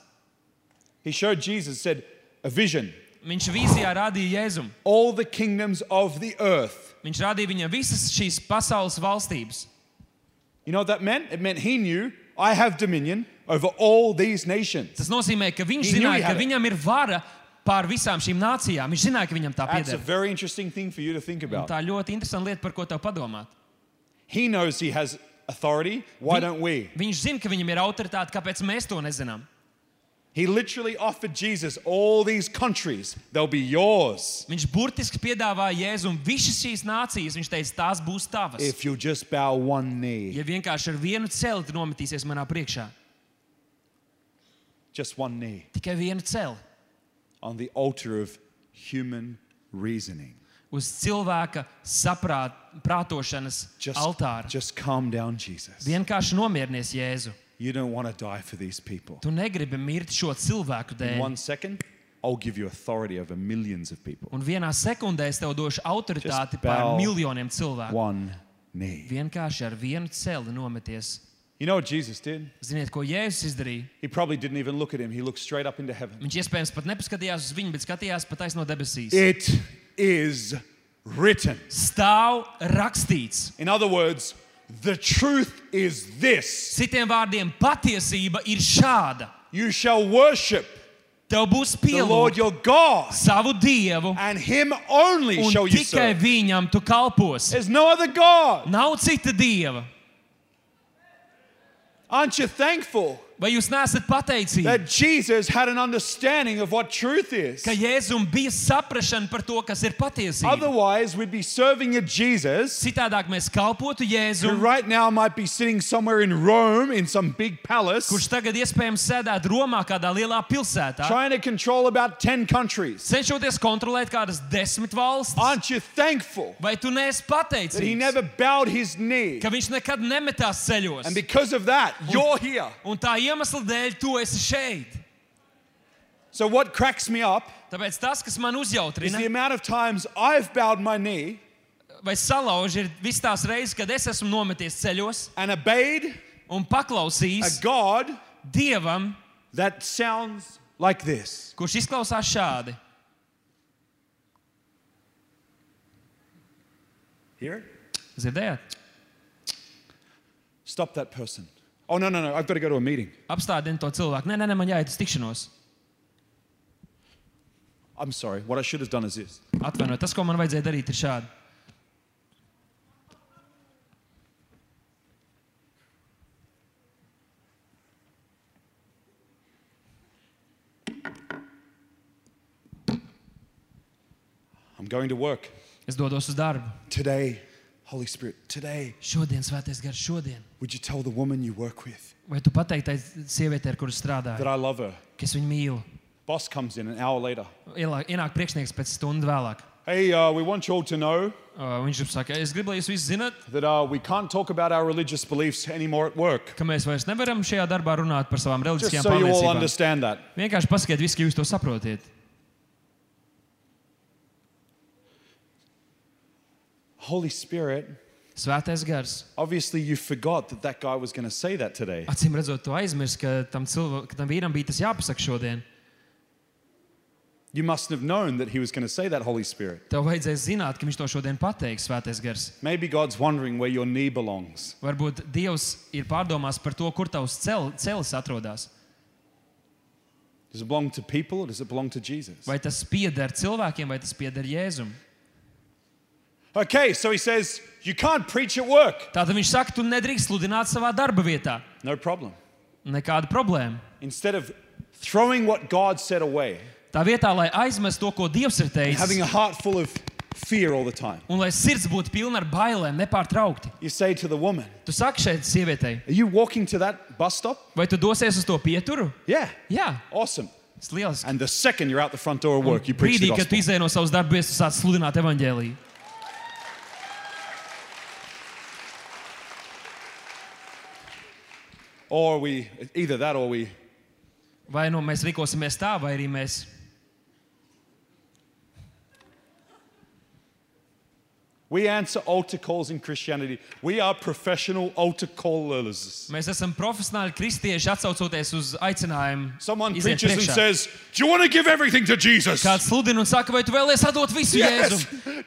Speaker 1: He showed Jesus, said, A vision.
Speaker 2: Viņš vīzijā rādīja Jēzumu.
Speaker 1: All the kingdoms of the earth.
Speaker 2: Viņš rādīja viņam visas šīs pasaules valstības.
Speaker 1: You know what that meant? It meant he knew, I have dominion over all these nations.
Speaker 2: Tas nozīmē, ka viņš
Speaker 1: He knew he
Speaker 2: zināja,
Speaker 1: had
Speaker 2: ka
Speaker 1: it.
Speaker 2: viņam ir vara pār visām šīm nācijām. Viņš zināja, ka viņam tā
Speaker 1: That's a
Speaker 2: pieder.
Speaker 1: very interesting thing for you to think
Speaker 2: Un
Speaker 1: about.
Speaker 2: Tā ir ļoti interesanta lieta, par ko tev padomāt.
Speaker 1: He knows he has authority. Why don't we?
Speaker 2: Viņš zina, ka viņam ir autoritāte, kāpēc mēs to nezinām.
Speaker 1: He literally offered Jesus all these countries, they'll be yours
Speaker 2: Viņš burtiski piedāvāja Jēzum visas šīs nācijas. Viņš teica, tās būs tavas.
Speaker 1: if you just bow one knee.
Speaker 2: Ja vienkārši ar vienu celi nometīsies manā priekšā,
Speaker 1: Just one knee
Speaker 2: tikai vienu celi
Speaker 1: on the altar of human reasoning.
Speaker 2: uz cilvēka saprāta, prātošanas
Speaker 1: Just,
Speaker 2: altāra.
Speaker 1: just calm down, Jesus.
Speaker 2: Vienkārši nomierinies Jēzu.
Speaker 1: You don't want to die for these people.
Speaker 2: Tu negribi mirt šo cilvēku
Speaker 1: In
Speaker 2: dēļ.
Speaker 1: one second, I'll give you authority over millions of people.
Speaker 2: Un vienā sekundē es tev došu autoritāti
Speaker 1: Just bow.
Speaker 2: pār miljoniem cilvēku.
Speaker 1: One knee.
Speaker 2: Vienkārši ar vienu celi nometies.
Speaker 1: You know what Jesus did?
Speaker 2: Ziniet, ko Jēzus izdarīja?
Speaker 1: He probably didn't even look at him, he looked straight up into heaven.
Speaker 2: Viņš iespējams pat nepaskatījās uz viņu, bet skatījās pat aiz no debesīs.
Speaker 1: It is written.
Speaker 2: Stāv rakstīts.
Speaker 1: In other words, the truth is this
Speaker 2: Citiem vārdiem, patiesība ir šāda.
Speaker 1: you shall worship
Speaker 2: Tev būs
Speaker 1: the Lord
Speaker 2: pielūgta
Speaker 1: your God,
Speaker 2: savu dievu,
Speaker 1: and him only
Speaker 2: un
Speaker 1: shall you
Speaker 2: tikai
Speaker 1: serve.
Speaker 2: viņam tu kalpos.
Speaker 1: There's no other God.
Speaker 2: Nav cita dieva.
Speaker 1: Aren't you thankful
Speaker 2: Vai jūs neesat pateicīgi,
Speaker 1: that Jesus had an understanding of what truth is?
Speaker 2: ka Jēzum bija saprāšana par to, kas ir patiesība?
Speaker 1: Otherwise, we'd be serving a Jesus
Speaker 2: Citādāk mēs kalpotu
Speaker 1: who
Speaker 2: Jēzum,
Speaker 1: right now might be sitting somewhere in Rome in some big
Speaker 2: kurš
Speaker 1: palace
Speaker 2: tagad iespējams sēdētu Romā kādā lielā pilsētā,
Speaker 1: trying to control about 10 countries.
Speaker 2: cenšoties kontrolēt kādas desmit valstis.
Speaker 1: Aren't you thankful
Speaker 2: Vai tu neesi
Speaker 1: that he
Speaker 2: pateicīgs,
Speaker 1: never bowed his knee?
Speaker 2: ka viņš nekad nemetās ceļos?
Speaker 1: And because of that, you're here.
Speaker 2: Un tā iemesla dēļ tu esi šeit.
Speaker 1: So, what cracks me up
Speaker 2: Tāpēc tas, kas man
Speaker 1: is
Speaker 2: uzjautrina,
Speaker 1: the amount of times I've bowed my knee
Speaker 2: vai salauž, ir visas tās reizes, kad es esmu nometies ceļos
Speaker 1: and obeyed
Speaker 2: un
Speaker 1: a
Speaker 2: paklausījis
Speaker 1: God
Speaker 2: dievam,
Speaker 1: that sounds like this
Speaker 2: kurš izklausās šādi.
Speaker 1: Hear it?
Speaker 2: Zirdējāt?
Speaker 1: Stop that person. Oh, no, no, no, I've got to go to a meeting.
Speaker 2: Apstādini to cilvēku. Nē, nē, nē, man jāiet uz tikšanos.
Speaker 1: I'm sorry. What I should have done is this
Speaker 2: Atvainojiet, tas, ko man vajadzēja darīt, ir šādi.
Speaker 1: I'm going to work
Speaker 2: Es dodos uz darbu.
Speaker 1: today. Holy Spirit, today,
Speaker 2: Šodien, svētais gars, šodien.
Speaker 1: would you tell the woman you work with
Speaker 2: Vai tu pateiktai sievietei, ar kuru strādāju,
Speaker 1: that I love her?
Speaker 2: ka es viņu mīlu?
Speaker 1: Boss comes in an hour later.
Speaker 2: Ielā- Ienāk priekšnieks pēc stundas vēlāk.
Speaker 1: Hey, uh, we want you all to know
Speaker 2: Uh, viņš jums saka, es gribu, lai jūs visi zinat,
Speaker 1: that uh, we can't talk about our religious beliefs anymore at work.
Speaker 2: ka mēs vairs nevaram šajā darbā runāt par savām
Speaker 1: Just
Speaker 2: reliģiskajām
Speaker 1: so you all
Speaker 2: pārliecībām.
Speaker 1: understand that.
Speaker 2: Vienkārši pasakiet, visu, ka jūs to saprotiet.
Speaker 1: Holy Spirit,
Speaker 2: Svētais gars.
Speaker 1: obviously you forgot that that guy was going to say that today.
Speaker 2: Acīm redzot, to aizmirst, ka tam, cilvē, ka tam vīram bija tas jāpasaka šodien.
Speaker 1: You must have known that he was going to say that, Holy Spirit.
Speaker 2: Tev vajadzēja zināt, ka viņš to šodien pateiks, Svētais gars.
Speaker 1: Maybe God's wondering where your knee belongs.
Speaker 2: Varbūt Dievs ir pārdomās par to, kur tavs cel, celis atrodas.
Speaker 1: Does it belong to people or does it belong to Jesus?
Speaker 2: Vai tas pieder cilvēkiem, vai tas pieder Jēzum?
Speaker 1: Okay, so he says, You can't preach at work.
Speaker 2: Tātad viņš saka, tu nedrīkst sludināt savā darba vietā.
Speaker 1: No problem.
Speaker 2: Nekāda problēma.
Speaker 1: Instead of throwing what God said away,
Speaker 2: Tā vietā, lai aizmestu to, ko Dievs ir
Speaker 1: having
Speaker 2: teicis,
Speaker 1: a heart full of fear all the time,
Speaker 2: un lai sirds būtu pilna ar bailēm, nepārtraukti.
Speaker 1: you say to the woman,
Speaker 2: Tu saki šeit sievietei,
Speaker 1: Are you walking to that bus stop?
Speaker 2: vai tu dosies uz to pieturu?
Speaker 1: Yeah.
Speaker 2: Jā,
Speaker 1: Awesome.
Speaker 2: Tas lieliski.
Speaker 1: And the second you're out the front door of work, you preach the
Speaker 2: Brīdī, kad tu
Speaker 1: gospel.
Speaker 2: izēj no savas darbības, tu sāc sludināt evaņģēlīju.
Speaker 1: Or we, either that or we,
Speaker 2: Vai nu mēs rīkosimies tā, vai arī mēs.
Speaker 1: we answer altar calls in Christianity. We are professional altar callers.
Speaker 2: Mēs esam profesionāli kristieši, atsaucoties uz aicinājumu.
Speaker 1: Someone
Speaker 2: iziet
Speaker 1: preaches and
Speaker 2: priekšā.
Speaker 1: says, Do you want to give everything to Jesus?
Speaker 2: Kāds sludina un saka, vai tu vēlies atdot visu
Speaker 1: Yes!
Speaker 2: Jēzu?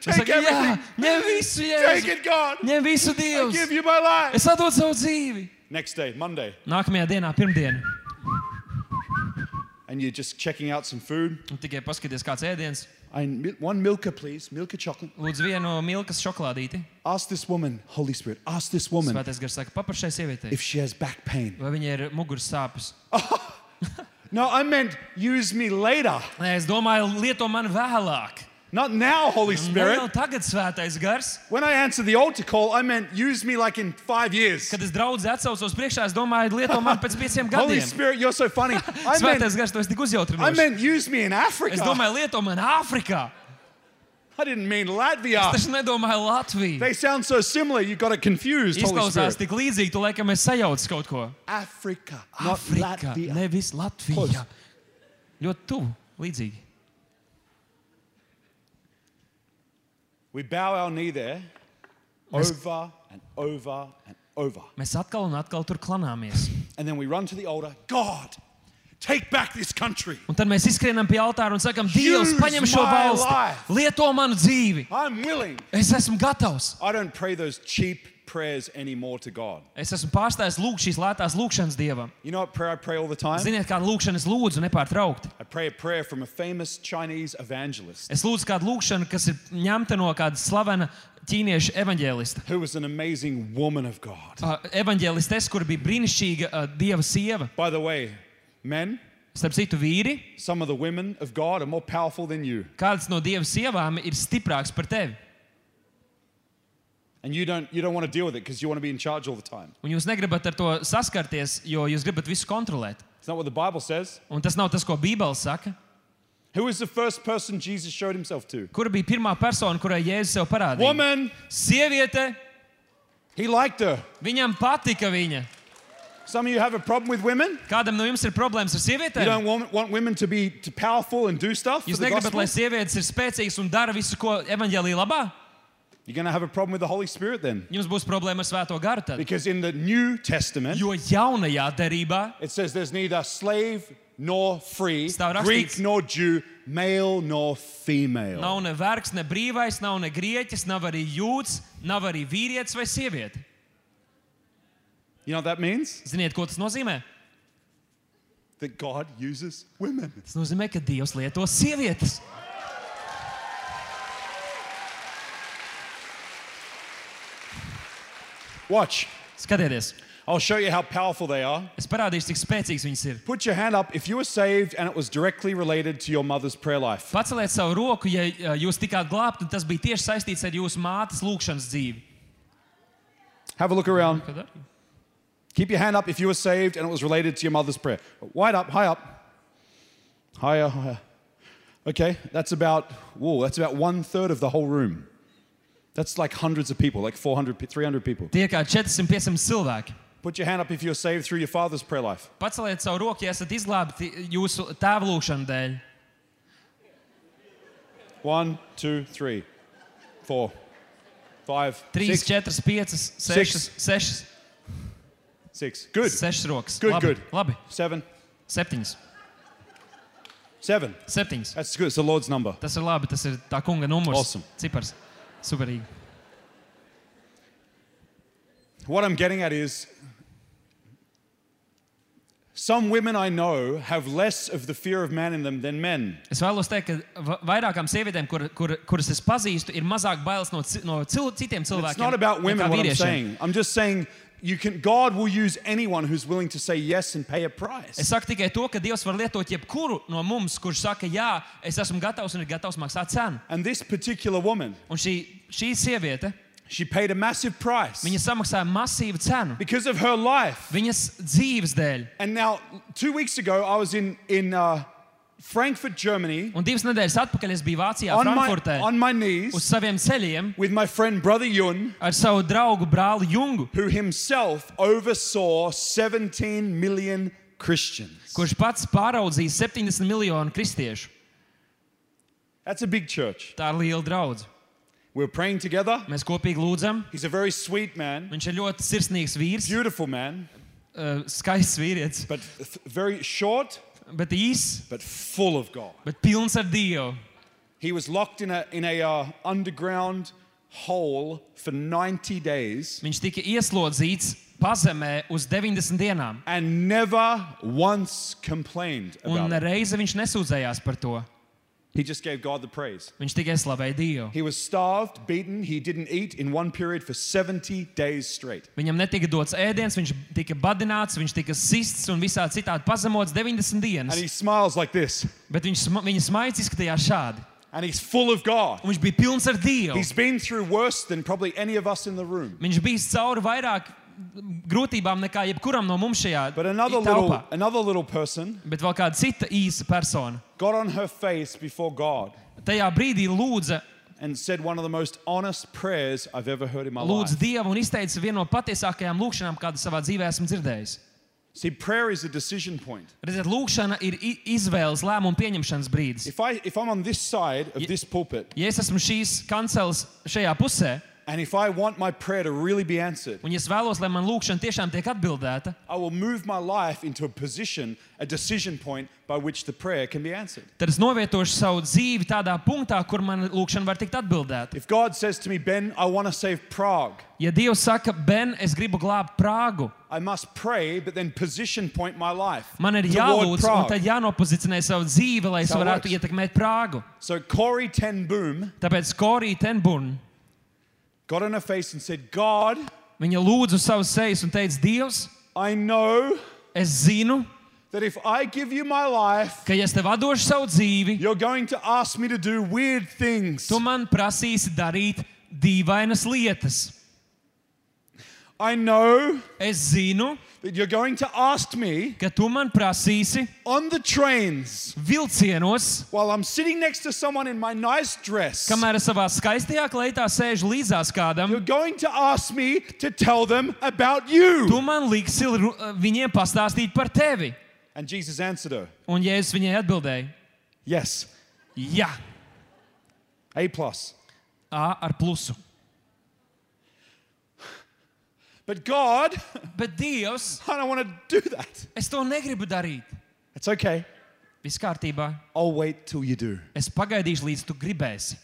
Speaker 1: Take
Speaker 2: Es saku, jā,
Speaker 1: everything.
Speaker 2: ņem visu
Speaker 1: Take
Speaker 2: Jēzu.
Speaker 1: it, God.
Speaker 2: Ņem visu
Speaker 1: Give
Speaker 2: Dievu.
Speaker 1: you my life.
Speaker 2: Es atdodu savu dzīvi.
Speaker 1: Next day, Monday,
Speaker 2: Nākamajā dienā, pirmdienā,
Speaker 1: and you're just checking out some food.
Speaker 2: tikai paskaties, kāds ēdiens.
Speaker 1: I, mil- one milka, please. Milka chocolate.
Speaker 2: Lūdzu, vienu milkas šokolādīti.
Speaker 1: Ask this woman, Holy Spirit, ask this woman
Speaker 2: Svētais gars saka, paprašai sievietei,
Speaker 1: if she has back pain.
Speaker 2: vai viņai ir muguras sāpes.
Speaker 1: No, I meant use me later.
Speaker 2: Nē, es domāju, lieto man vēlāk.
Speaker 1: Not now, Holy
Speaker 2: Ne jau
Speaker 1: Spirit.
Speaker 2: tagad svētais gars.
Speaker 1: When I answered the altar call, I meant use me like in five years.
Speaker 2: Kad es draudzē atsaucos priekšā, es domāju, lieto man pēc pieciem
Speaker 1: Holy
Speaker 2: gadiem.
Speaker 1: Spirit, you're so funny. I meant,
Speaker 2: Svētais gars, tu esi tik
Speaker 1: I
Speaker 2: uzjautrināts.
Speaker 1: meant use me in
Speaker 2: Es
Speaker 1: Africa.
Speaker 2: domāju, lieto man Āfrikā.
Speaker 1: I didn't mean
Speaker 2: Es
Speaker 1: Latvia.
Speaker 2: taču nedomāju Latviju.
Speaker 1: They sound so similar, you got it confused, Holy
Speaker 2: Izklausās
Speaker 1: Spirit.
Speaker 2: tik līdzīgi, tu laikam es sajaucu kaut ko.
Speaker 1: Africa, not
Speaker 2: Āfrika,
Speaker 1: Latvia.
Speaker 2: nevis Latvija.
Speaker 1: Close.
Speaker 2: Ļoti tuvu, līdzīgi.
Speaker 1: We bow our knee there over and over and over.
Speaker 2: Mēs atkal un atkal tur klanāmies.
Speaker 1: And then we run to the altar. God, take back this country.
Speaker 2: Un tad mēs izskrienam pie altāra un sakam, Dievs,
Speaker 1: Use
Speaker 2: paņem šo
Speaker 1: my
Speaker 2: valsti,
Speaker 1: life.
Speaker 2: lieto manu dzīvi.
Speaker 1: I'm willing.
Speaker 2: Es esmu gatavs.
Speaker 1: I don't pray those cheap prayers anymore to God.
Speaker 2: Es esmu pārstājis lūgt šīs lētās lūgšanas dievam.
Speaker 1: You know what prayer I pray all the time?
Speaker 2: Ziniet, kādu lūgšanu es lūdzu nepārtraukti?
Speaker 1: I pray a prayer from a famous Chinese evangelist
Speaker 2: Es lūdzu kādu lūgšanu, kas ir ņemta no kāda slavena ķīniešu evaņģēlista.
Speaker 1: who was an amazing woman of God.
Speaker 2: Uh, Evanģēlistes, kur bija brīnišķīga uh, dieva sieva.
Speaker 1: By the way, men,
Speaker 2: Starp citu, vīri,
Speaker 1: some of the women of God are more powerful than you.
Speaker 2: kāds no dieva sievām ir stiprāks par tevi.
Speaker 1: And you don't, you don't want to deal with it because you want to be in charge all the time.
Speaker 2: Un jūs negribat ar to saskarties, jo jūs gribat visu kontrolēt.
Speaker 1: It's not what the Bible says.
Speaker 2: Un tas nav tas, ko Bībele saka.
Speaker 1: Who is the first person Jesus showed himself to?
Speaker 2: Kur bija pirmā persona, kurai Jēzus sev parādīja?
Speaker 1: Woman!
Speaker 2: Sieviete,
Speaker 1: He liked her.
Speaker 2: viņam patika viņa.
Speaker 1: Some of you have a problem with women.
Speaker 2: Kādam no jums ir problēmas ar
Speaker 1: You don't
Speaker 2: sievietēm?
Speaker 1: want, want women to be to powerful and do stuff. For
Speaker 2: Jūs
Speaker 1: the
Speaker 2: negribat,
Speaker 1: gospel.
Speaker 2: lai sievietes ir spēcīgas un dara visu, ko evaņģēlīja labā?
Speaker 1: You're going to have a problem with the Holy Spirit then.
Speaker 2: Jums būs problēma ar svēto garu. Tad.
Speaker 1: Because in the New Testament,
Speaker 2: Jo jaunajā derībā
Speaker 1: it says there's neither slave nor free,
Speaker 2: Stav rakstīts.
Speaker 1: Greek nor Jew, male nor female.
Speaker 2: Nav ne vergs, ne brīvais, nav ne grieķis, nav arī jūds, nav arī vīrietis vai sieviete.
Speaker 1: You know what that means?
Speaker 2: Ziniet, ko tas nozīmē?
Speaker 1: That God uses women.
Speaker 2: Tas nozīmē, ka Dievs lieto sievietes.
Speaker 1: Watch.
Speaker 2: Skatieties,
Speaker 1: I'll show you how powerful they are.
Speaker 2: es parādīšu, cik spēcīgs viņas ir.
Speaker 1: Put your hand up if you were saved and it was directly related to your mother's prayer life.
Speaker 2: Paceliet savu roku, ja ja jūs tikāt glābti, un tas bija tieši saistīts ar jūsu mātes lūgšanas dzīvi.
Speaker 1: Have a look around.
Speaker 2: Kad arī?
Speaker 1: Keep your hand up if you were saved and it was related to your mother's prayer. Wide up, high up. Higher, higher. Okay, that's about, whoa, that's about one third of the whole room. That's like hundreds of people, like 400, pe- 300 people.
Speaker 2: Tie kā 400-500 cilvēki.
Speaker 1: Put your hand up if you were saved through your father's prayer life.
Speaker 2: Paceliet savu roku, ja esat izglābti jūsu tēva lūgšanas dēļ.
Speaker 1: One, two, three, four, five,
Speaker 2: 3,
Speaker 1: six,
Speaker 2: 4, 5, 6, 6,
Speaker 1: six. Good.
Speaker 2: 6 rokas.
Speaker 1: Good,
Speaker 2: labi,
Speaker 1: good.
Speaker 2: labi.
Speaker 1: Seven,
Speaker 2: 7,
Speaker 1: seven.
Speaker 2: 7.
Speaker 1: That's good. It's the Lord's number.
Speaker 2: Tas ir labi, tas ir tā kunga numurs.
Speaker 1: Awesome.
Speaker 2: Cipars. Superīgi.
Speaker 1: What I'm getting at is some women I know have less of the fear of man in them than men.
Speaker 2: Es vēlos teikt, ka va- vairākām sievietēm, kur, kur, kuras es pazīstu, ir mazāk bailes no, ci- no cil, citiem cilvēkiem.
Speaker 1: It's not about women
Speaker 2: nekā
Speaker 1: what I'm
Speaker 2: vīriešiem.
Speaker 1: saying. I'm just saying you can God will use anyone who's willing to say yes and pay a
Speaker 2: Es
Speaker 1: price.
Speaker 2: saku tikai to, ka Dievs var lietot jebkuru no mums, kurš saka, jā, es esmu gatavs un ir gatavs maksāt cenu.
Speaker 1: And this particular woman,
Speaker 2: Un šī, šī sieviete,
Speaker 1: she paid a massive price
Speaker 2: viņa samaksāja masīvu cenu
Speaker 1: because of her life.
Speaker 2: viņas dzīves dēļ.
Speaker 1: And now 2 weeks ago I was in in uh, Frankfurt, Germany,
Speaker 2: Un divas nedēļas atpakaļ es biju Vācijā,
Speaker 1: on my,
Speaker 2: Frankfurtē,
Speaker 1: on my
Speaker 2: uz
Speaker 1: knees
Speaker 2: saviem ceļiem
Speaker 1: with my friend Brother Yun,
Speaker 2: ar savu draugu brāli Jungu,
Speaker 1: who himself oversaw 17 million Christians.
Speaker 2: kurš pats pāraudzīja 70 miljonu kristiešu.
Speaker 1: That's a big church.
Speaker 2: Tā ir liela draudzene.
Speaker 1: We're praying together.
Speaker 2: Mēs kopīgi lūdzam.
Speaker 1: He's a very sweet man,
Speaker 2: Viņš ir ļoti sirsnīgs vīrs,
Speaker 1: beautiful man,
Speaker 2: eh, skaists vīrietis,
Speaker 1: but th- very short,
Speaker 2: bet īss,
Speaker 1: but full of God.
Speaker 2: bet pilns ar dievu.
Speaker 1: He was locked in a in a uh, underground hole for 90 days
Speaker 2: Viņš tika ieslodzīts pazemē uz 90 dienām.
Speaker 1: and never once complained
Speaker 2: Un
Speaker 1: about it.
Speaker 2: reize viņš nesūdzējās par to.
Speaker 1: He just gave God the praise.
Speaker 2: Viņš tikai slavēja Dievu.
Speaker 1: He was starved, beaten. He didn't eat in one period for 70 days straight.
Speaker 2: Viņam netika dots ēdiens, viņš tika badināts, viņš tika sists un visā citādi pazemots 90
Speaker 1: And
Speaker 2: dienas.
Speaker 1: he smiles like this.
Speaker 2: Bet viņš, sma- viņa smaids izskatījās šādi.
Speaker 1: And he's full of God.
Speaker 2: Un viņš bija pilns ar Dievu.
Speaker 1: He's been through worse than probably any of us in the room.
Speaker 2: Viņš bija cauri vairāk grūtībām nekā jebkuram no mums šajā
Speaker 1: But another little,
Speaker 2: telpā.
Speaker 1: another little person
Speaker 2: Bet vēl kāda cita īsa persona
Speaker 1: got on her face before God
Speaker 2: tajā brīdī lūdza,
Speaker 1: and said one of the most honest prayers I've ever heard in my
Speaker 2: lūdza
Speaker 1: life.
Speaker 2: Dievu un izteica vienu no patiesākajām lūkšanām, kādu savā dzīvē esmu dzirdējis.
Speaker 1: See, prayer is a decision point.
Speaker 2: Redziet, lūkšana ir i- izvēles lēmumu pieņemšanas brīdis.
Speaker 1: If I if I'm on this side of this pulpit
Speaker 2: Ja es esmu šīs kanceles šajā pusē,
Speaker 1: and if I want my prayer to really be answered,
Speaker 2: un ja es vēlos, lai man lūkšana tiešām tiek atbildēta,
Speaker 1: I will move my life into a position, a decision point by which the prayer can be answered.
Speaker 2: tad es novietošu savu dzīvi tādā punktā, kur man lūkšana var tikt atbildēta.
Speaker 1: If God says to me, Ben, I want to save Prague,
Speaker 2: Ja Dievs saka, Ben, es gribu glābt Prāgu,
Speaker 1: I must pray, but then position point my life
Speaker 2: man ir
Speaker 1: toward
Speaker 2: jālūdz, un
Speaker 1: Prague.
Speaker 2: tad jānopozicionē savu dzīvi, lai es
Speaker 1: Tā
Speaker 2: varētu
Speaker 1: works.
Speaker 2: ietekmēt Prāgu.
Speaker 1: So Corey Ten Boom
Speaker 2: Tāpēc Korija Tenburna
Speaker 1: got on her face and said, God,
Speaker 2: viņa lūdza uz savas sejas un teica, Dievs,
Speaker 1: I know
Speaker 2: es zinu,
Speaker 1: that if I give you my life,
Speaker 2: ka ja es tev došu savu dzīvi,
Speaker 1: you're going to ask me to do weird things.
Speaker 2: tu man prasīsi darīt dīvainas lietas.
Speaker 1: I know
Speaker 2: Es zinu,
Speaker 1: that you're going to ask me
Speaker 2: ka tu man prasīsi
Speaker 1: on the trains
Speaker 2: vilcienos,
Speaker 1: While I'm sitting next to someone in my nice dress,
Speaker 2: kamēr es savā skaistajā kleitā sēžu līdzās kādam.
Speaker 1: you're going to ask me to tell them about
Speaker 2: Tu
Speaker 1: you.
Speaker 2: man liksi ru- viņiem pastāstīt par tevi.
Speaker 1: And Jesus answered her,
Speaker 2: Un Jēzus viņai atbildēja,
Speaker 1: Yes,
Speaker 2: Jā,
Speaker 1: A plus.
Speaker 2: A ar plusu.
Speaker 1: But God,
Speaker 2: Bet Dievs,
Speaker 1: I don't want to do that.
Speaker 2: es to negribu darīt.
Speaker 1: It's okay.
Speaker 2: Viss kārtībā.
Speaker 1: I'll wait till you do.
Speaker 2: Es pagaidīšu, līdz tu gribēsi.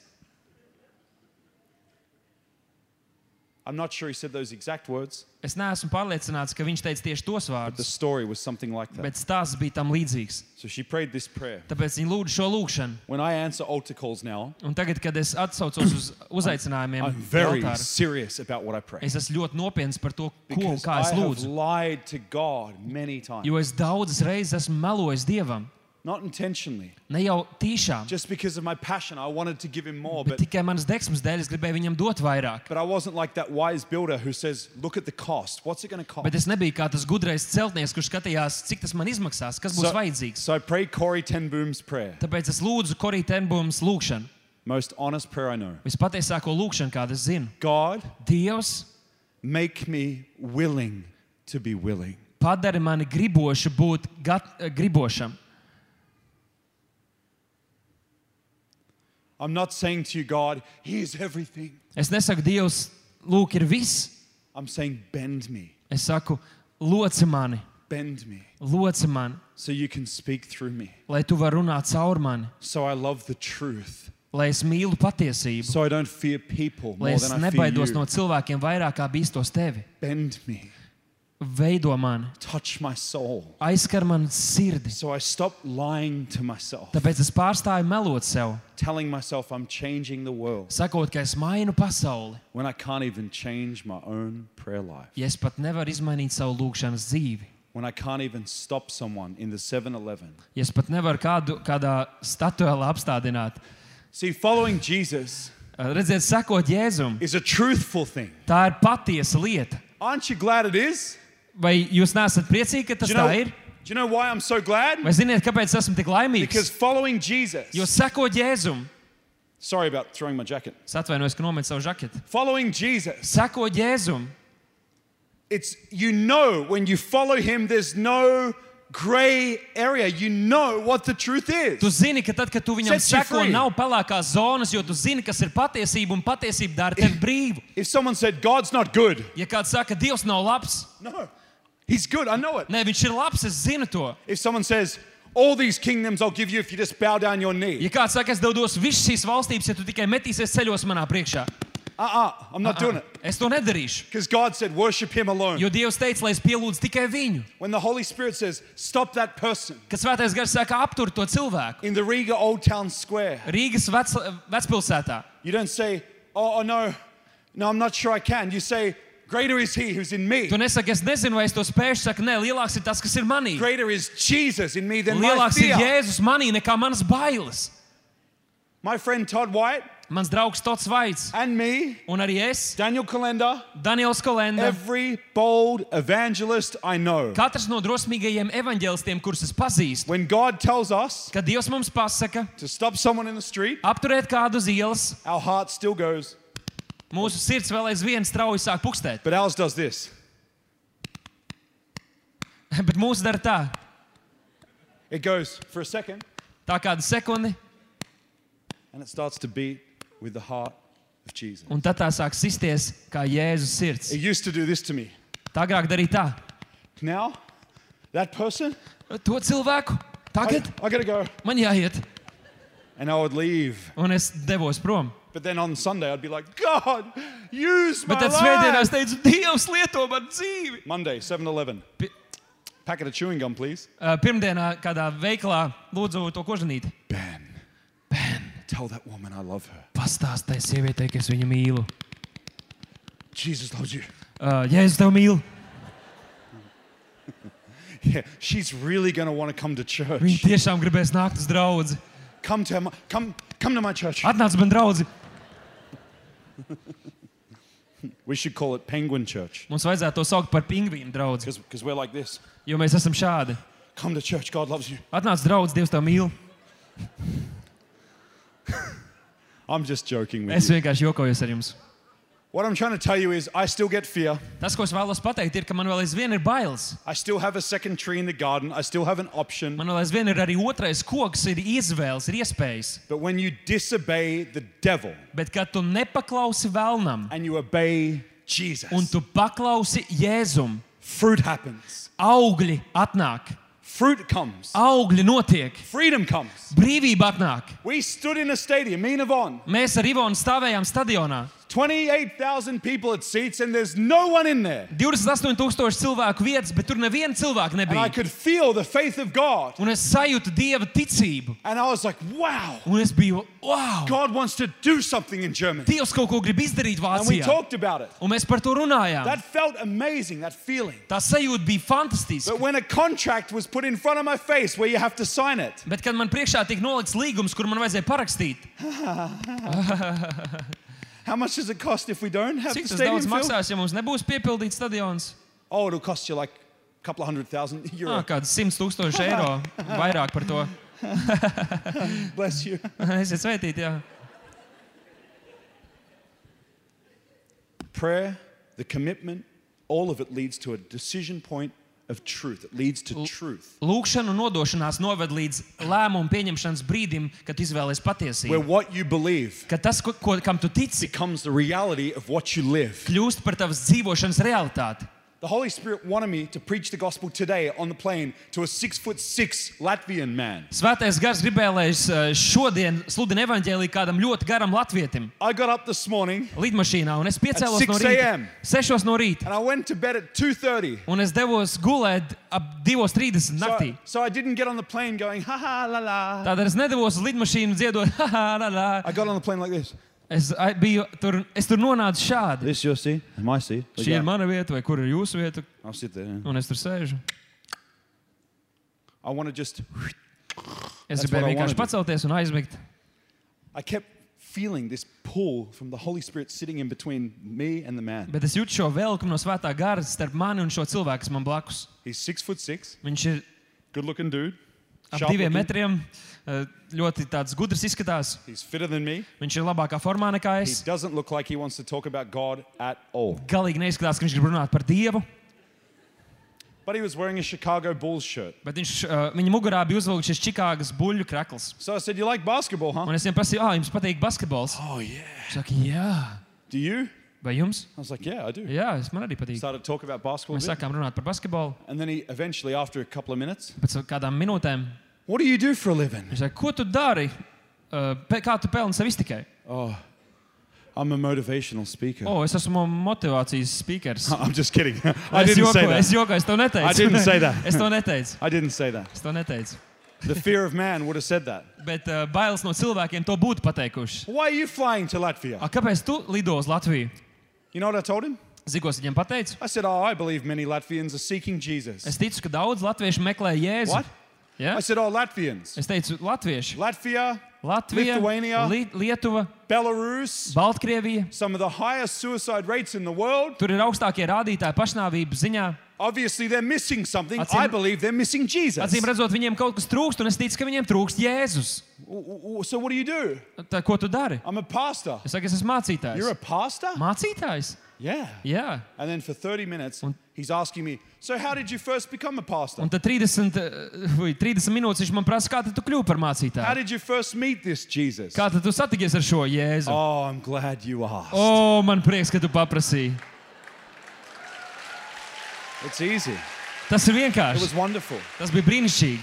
Speaker 1: I'm not sure he said those exact words.
Speaker 2: Es neesmu pārliecināts, ka viņš teica tieši tos
Speaker 1: The
Speaker 2: vārdus,
Speaker 1: story was something like that.
Speaker 2: bet stāsts bija tam līdzīgs.
Speaker 1: So she prayed this prayer.
Speaker 2: Tāpēc viņi lūdza šo lūgšanu.
Speaker 1: When I answer altar calls now,
Speaker 2: Un tagad, kad es atsaucos uz uzaicinājumiem,
Speaker 1: I'm very
Speaker 2: altāra,
Speaker 1: serious about what I pray.
Speaker 2: es esmu ļoti nopietns par to, ko un
Speaker 1: Because
Speaker 2: kā
Speaker 1: I
Speaker 2: es
Speaker 1: have
Speaker 2: lūdzu.
Speaker 1: lied to God many times.
Speaker 2: Jo es daudzas reizes esmu melojis dievam.
Speaker 1: Not intentionally.
Speaker 2: Ne jau tīšām,
Speaker 1: Just because of my passion, I wanted to give him more,
Speaker 2: bet
Speaker 1: but
Speaker 2: tikai manas deksmas dēļ es gribēju viņam dot vairāk.
Speaker 1: But I wasn't like that wise builder who says, look at the cost. What's it going to cost?
Speaker 2: Bet es nebiju kā tas gudrais celtnieks, kurš skatījās, cik tas man izmaksās, kas būs vajadzīgs.
Speaker 1: so I pray Corey Ten Boom's prayer,
Speaker 2: Tāpēc es lūdzu Korī Tenbums lūgšanu,
Speaker 1: most honest prayer I know.
Speaker 2: vispatiesāko lūgšanu, kādu es zinu.
Speaker 1: God,
Speaker 2: Dievs,
Speaker 1: make me willing to be willing.
Speaker 2: padari mani gribošu būt gat, eh, gribošam.
Speaker 1: I'm not saying to you, God, He is everything.
Speaker 2: Es nesaku, Dievs, lūk, ir viss.
Speaker 1: I'm saying, bend me,
Speaker 2: Es saku, loci mani,
Speaker 1: bend me,
Speaker 2: loci mani,
Speaker 1: so you can speak through me.
Speaker 2: lai tu varētu runāt caur mani,
Speaker 1: So I love the truth.
Speaker 2: lai es mīlu patiesību,
Speaker 1: So I don't fear people
Speaker 2: lai
Speaker 1: more
Speaker 2: es
Speaker 1: than I fear
Speaker 2: nebaidos no
Speaker 1: you.
Speaker 2: cilvēkiem vairāk kā bīstos tevi.
Speaker 1: Bend me,
Speaker 2: Veido mani,
Speaker 1: touch my soul.
Speaker 2: aizskar man sirdi.
Speaker 1: So I stop lying to myself,
Speaker 2: Tāpēc es pārstāju melot sev,
Speaker 1: telling myself I'm changing the world.
Speaker 2: sakot, ka es mainu pasauli,
Speaker 1: when I can't even change my own prayer life,
Speaker 2: ja es pat nevaru izmainīt savu lūgšanas dzīvi,
Speaker 1: when I can't even stop someone in the 7 Eleven.
Speaker 2: ja es pat nevaru kādu kādā statuēlā apstādināt. Eh,
Speaker 1: See, following Jesus
Speaker 2: Redziet, sakot Jēzum,
Speaker 1: is a truthful thing.
Speaker 2: tā ir patiesa lieta.
Speaker 1: Aren't you glad it is?
Speaker 2: Vai jūs neesat priecīgi, ka tas
Speaker 1: Do you
Speaker 2: tā
Speaker 1: know,
Speaker 2: ir?
Speaker 1: Do you know why I'm so glad?
Speaker 2: Vai ziniet, kāpēc esmu tik
Speaker 1: Because
Speaker 2: laimīgs?
Speaker 1: following Jesus,
Speaker 2: Jo sekot Jēzum,
Speaker 1: sorry about throwing my jacket.
Speaker 2: es atvainojos, ka nometu savu žaketi.
Speaker 1: Following Jesus,
Speaker 2: Sekot Jēzum,
Speaker 1: it's you know when you follow him, there's no gray area. You know what the truth is.
Speaker 2: tu zini, ka tad, kad tu viņam
Speaker 1: Sets you
Speaker 2: seko,
Speaker 1: free.
Speaker 2: nav pelēkās zonas, jo tu zini, kas ir patiesība, un patiesība dara tevi brīvu.
Speaker 1: If someone said God's not good,
Speaker 2: Ja kāds saka, Dievs nav labs,
Speaker 1: no, he's good. I know it.
Speaker 2: nē, viņš ir labs, es zinu to.
Speaker 1: If someone says all these kingdoms I'll give you if you just bow down your knee,
Speaker 2: Ja kāds saka, es tev došu visas šīs valstības, ja tu tikai metīsies ceļos manā priekšā,
Speaker 1: uh-uh, I'm not doing it.
Speaker 2: es to nedarīšu.
Speaker 1: Because God said, worship him alone.
Speaker 2: Jo Dievs teica, lai es pielūdzu tikai viņu.
Speaker 1: When the Holy Spirit says, stop that person
Speaker 2: Kad svētais gars saka, aptur to cilvēku
Speaker 1: in the Riga Old Town Square,
Speaker 2: Rīgas vec, vecpilsētā.
Speaker 1: you don't say, oh, oh no, no, I'm not sure I can. You say, greater is he who's in me.
Speaker 2: Tu nesaki, es nezinu, vai es to spēšu. Saka, nē, lielāks ir tas, kas ir manī.
Speaker 1: Greater is Jesus in me than my
Speaker 2: Lielāks
Speaker 1: fear.
Speaker 2: ir Jēzus manī nekā manas bailes.
Speaker 1: My friend Todd White
Speaker 2: Mans draugs Tots Vaits
Speaker 1: and me,
Speaker 2: un arī es,
Speaker 1: Daniel Kalenda,
Speaker 2: Daniels Kolenda.
Speaker 1: every bold evangelist I know.
Speaker 2: Katrs no drosmīgajiem evaņģēlistiem, kurus es pazīstu,
Speaker 1: When God tells us
Speaker 2: kad Dievs mums pasaka,
Speaker 1: to stop someone in the street,
Speaker 2: apturēt kādu uz ielas,
Speaker 1: our heart still goes,
Speaker 2: mūsu sirds vēl aizvien strauji sāk pukstēt.
Speaker 1: but ours does this.
Speaker 2: Bet mūsu dara tā,
Speaker 1: It goes for a second
Speaker 2: tā kāda sekunde,
Speaker 1: and it starts to beat with the heart of Jesus.
Speaker 2: un tad tā sāk sisties kā Jēzus sirds.
Speaker 1: It used to do this to me.
Speaker 2: Tā agrāk darīja tā.
Speaker 1: Now, that person,
Speaker 2: To cilvēku
Speaker 1: I,
Speaker 2: tagad
Speaker 1: I gotta go.
Speaker 2: man jāiet,
Speaker 1: And I would leave.
Speaker 2: un es devos prom.
Speaker 1: But then on Sunday, I'd be like, God, use my
Speaker 2: Bet tad svētdienā
Speaker 1: life.
Speaker 2: es teicu, Dievs, lieto man dzīvi.
Speaker 1: Monday, 7 Eleven.
Speaker 2: Pi-
Speaker 1: Packet of chewing gum, please.
Speaker 2: Ā, Pirmdienā kādā veikalā lūdzu to kožanīti.
Speaker 1: Ben. Ben. Tell that woman I love her.
Speaker 2: Pastāstīja sievietei, ka es viņu mīlu.
Speaker 1: Jesus loves you.
Speaker 2: Uh, Jēzus, tev mīlu.
Speaker 1: Yeah, she's really gonna want to come to church.
Speaker 2: Viņa tiešām gribēs nākt uz draugu.
Speaker 1: Come to my, come, come to my church.
Speaker 2: Atnāc man draugi.
Speaker 1: We should call it Penguin Church
Speaker 2: Mums vajadzētu to saukt par pingvīnu draugu,
Speaker 1: because we're like this.
Speaker 2: jo mēs esam šādi.
Speaker 1: Come to church. God loves you.
Speaker 2: Atnāc draugs, Dievs, tev mīlu.
Speaker 1: I'm just joking with
Speaker 2: Es
Speaker 1: you.
Speaker 2: vienkārši jokojos ar jums.
Speaker 1: What I'm trying to tell you is I still get fear.
Speaker 2: Tas, ko es vēlos pateikt, ir, ka man vēl aizvien ir bailes.
Speaker 1: I still have a second tree in the garden. I still have an option.
Speaker 2: Man vēl aizvien ir arī otrais koks, ir izvēles, ir iespējas.
Speaker 1: But when you disobey the devil
Speaker 2: Bet, kad tu nepaklausi vēlnam
Speaker 1: and you obey Jesus,
Speaker 2: un tu paklausi Jēzum,
Speaker 1: fruit happens.
Speaker 2: augļi atnāk,
Speaker 1: Fruit comes.
Speaker 2: augļi notiek,
Speaker 1: Freedom comes.
Speaker 2: brīvība atnāk.
Speaker 1: We stood in a stadium, me and Yvonne,
Speaker 2: Mēs ar Ivonu stāvējām stadionā.
Speaker 1: 28,000 people at seats, and there's no one in there.
Speaker 2: 28,000 cilvēku vietas, bet tur neviena cilvēka
Speaker 1: And I
Speaker 2: nebija.
Speaker 1: could feel the faith of God.
Speaker 2: Un es sajūtu dieva ticību.
Speaker 1: And I was like, wow,
Speaker 2: Un es biju, wow!
Speaker 1: God wants to do something in Germany.
Speaker 2: Dievs kaut ko grib izdarīt
Speaker 1: And we
Speaker 2: Vācijā.
Speaker 1: talked about it.
Speaker 2: Un mēs par to runājām.
Speaker 1: That felt amazing, that feeling.
Speaker 2: Tā sajūta bija fantastiska.
Speaker 1: But when a contract was put in front of my face where you have to sign it,
Speaker 2: Bet, kad man priekšā tika nolikts līgums, kur man vajadzēja parakstīt,
Speaker 1: how much does it cost if we don't have the
Speaker 2: cik tas
Speaker 1: stadium
Speaker 2: daudz
Speaker 1: filled?
Speaker 2: maksās, ja mums nebūs piepildīts stadions?
Speaker 1: Oh, it'll cost you like a couple of hundred thousand euro.
Speaker 2: Ah, Kāds 100 tūkstoši eiro vairāk par to.
Speaker 1: Bless you.
Speaker 2: Esiet sveitīti, jā.
Speaker 1: Prayer, the commitment, all of it leads to a decision point of truth. It leads to truth.
Speaker 2: Lūkšana un nodošanās noved līdz lēmumu pieņemšanas brīdim, kad izvēlēsies
Speaker 1: Where
Speaker 2: patiesību.
Speaker 1: what you believe
Speaker 2: Kad tas, ko, ko- kam tu tici,
Speaker 1: becomes the reality of what you live.
Speaker 2: kļūst par tavas dzīvošanas realitāti.
Speaker 1: The Holy Spirit wanted me to preach the gospel today on the plane to a six foot six Latvian man.
Speaker 2: Svētais gars gribēja, lai es eh, šodien sludinu evaņģēlīju kādam ļoti garam latvietim.
Speaker 1: I got up this morning
Speaker 2: Lidmašīnā, un es piecēlos no
Speaker 1: 6
Speaker 2: rīta.
Speaker 1: a.m..
Speaker 2: 6 no rīta.
Speaker 1: and I went to bed at 2.30.
Speaker 2: Un es devos gulēt ap 2.30
Speaker 1: So,
Speaker 2: naktī.
Speaker 1: so I didn't get on the plane going, ha ha la la.
Speaker 2: Tādēļ es nedavos uz lidmašīnu dziedot, ha, ha, la, la.
Speaker 1: I got on the plane like this.
Speaker 2: Es, ai- biju tur, es tur nonācu šādi.
Speaker 1: This is your seat, and my seat. Like
Speaker 2: Šī ir
Speaker 1: that.
Speaker 2: mana vieta, vai kur ir jūsu vieta,
Speaker 1: I'll sit there. yeah.
Speaker 2: un es tur sēžu.
Speaker 1: I want to just.
Speaker 2: Es
Speaker 1: That's what I
Speaker 2: gribēju
Speaker 1: wanna
Speaker 2: vienkārši pacelties un aizmigt.
Speaker 1: I kept feeling this pull from the Holy Spirit sitting in between me and the man.
Speaker 2: Bet es jūtu šo vēlkumu no svētā gara starp mani un šo cilvēku, kas man blakus.
Speaker 1: He's six foot six.
Speaker 2: Viņš ir
Speaker 1: Good looking dude.
Speaker 2: Ap
Speaker 1: Sharp
Speaker 2: diviem
Speaker 1: looking.
Speaker 2: metriem. eh, Ļoti tāds gudrs izskatās.
Speaker 1: He's fitter than me.
Speaker 2: Viņš ir labākā formā nekā
Speaker 1: He
Speaker 2: es.
Speaker 1: doesn't look like he wants to talk about God at all.
Speaker 2: Galīgi neizskatās, ka viņš grib runāt par Dievu.
Speaker 1: But he was wearing a Chicago Bulls shirt.
Speaker 2: Bet viņš, eh, viņa mugurā bija uzvilkts šis Čikāgas buļļu krekls.
Speaker 1: So I said, You like basketball, huh?
Speaker 2: Un es viņam prasīju, ah, jums patīk basketbols?
Speaker 1: Oh, yeah.
Speaker 2: Viņš saka, jā.
Speaker 1: Do you?
Speaker 2: Vai jums?
Speaker 1: I was like, Yeah, I do.
Speaker 2: Jā, es man arī patīk.
Speaker 1: Started talking about basketball. a
Speaker 2: Mēs
Speaker 1: bit.
Speaker 2: sākām runāt par basketbolu.
Speaker 1: And then he eventually, after a couple of minutes,
Speaker 2: Pēc kādām minūtēm
Speaker 1: What do you do for a living?
Speaker 2: viņš saka, ko tu dari? Eh, pe- Kā tu pelni sev iztikai?
Speaker 1: Oh, I'm a motivational speaker.
Speaker 2: O, oh, es esmu motivācijas speakers.
Speaker 1: I'm just kidding. I
Speaker 2: Es
Speaker 1: didn't say
Speaker 2: jokoju, es
Speaker 1: that.
Speaker 2: jokoju, es to
Speaker 1: I
Speaker 2: neteicu.
Speaker 1: didn't say that.
Speaker 2: Es to neteicu.
Speaker 1: I didn't say that.
Speaker 2: Es to neteicu.
Speaker 1: The fear of man would have said that.
Speaker 2: Bet uh, bailes no cilvēkiem to būtu pateikuši.
Speaker 1: Why are you flying to Latvia?
Speaker 2: A, kāpēc tu lido uz Latviju?
Speaker 1: You know what I told him?
Speaker 2: Zigos viņam pateicu.
Speaker 1: I said, Oh, I believe many Latvians are seeking Jesus.
Speaker 2: Es ticu, ka daudz latviešu meklē Jēzu.
Speaker 1: What?
Speaker 2: Ja?
Speaker 1: I said, Oh, Latvians.
Speaker 2: Es teicu, latvieši.
Speaker 1: Latvia,
Speaker 2: Latvija,
Speaker 1: Lithuania.
Speaker 2: Li Lietuva,
Speaker 1: Belarus,
Speaker 2: Baltkrievija.
Speaker 1: some of the highest suicide rates in the world.
Speaker 2: Tur ir augstākie rādītāji pašnāvību ziņā.
Speaker 1: Obviously, they're missing something.
Speaker 2: Acīm-
Speaker 1: I believe they're missing Jesus.
Speaker 2: Atcīm redzot, viņiem kaut kas trūkst, un es ticu, ka viņiem trūkst Jēzus.
Speaker 1: W- w- w- So, what do you do?
Speaker 2: Tā, ko tu dari?
Speaker 1: I'm a pastor.
Speaker 2: Es saku, es esmu mācītājs.
Speaker 1: You're a pastor?
Speaker 2: Mācītājs?
Speaker 1: Yeah.
Speaker 2: Jā.
Speaker 1: And then for 30 minutes,
Speaker 2: Un-
Speaker 1: he's asking me, So, how did you first become a pastor?
Speaker 2: Un tad 30, eh, ui, 30 minūtes viņš man prasa, kā tad tu kļūsi par
Speaker 1: How
Speaker 2: mācītāju?
Speaker 1: did you first meet this Jesus?
Speaker 2: Kā tad tu satikies ar šo Jēzu? O,
Speaker 1: Oh, I'm glad you asked.
Speaker 2: oh, man prieks, ka tu paprasīji.
Speaker 1: It's easy.
Speaker 2: Tas ir
Speaker 1: It
Speaker 2: vienkārši.
Speaker 1: was wonderful.
Speaker 2: Tas bija brīnišķīgi.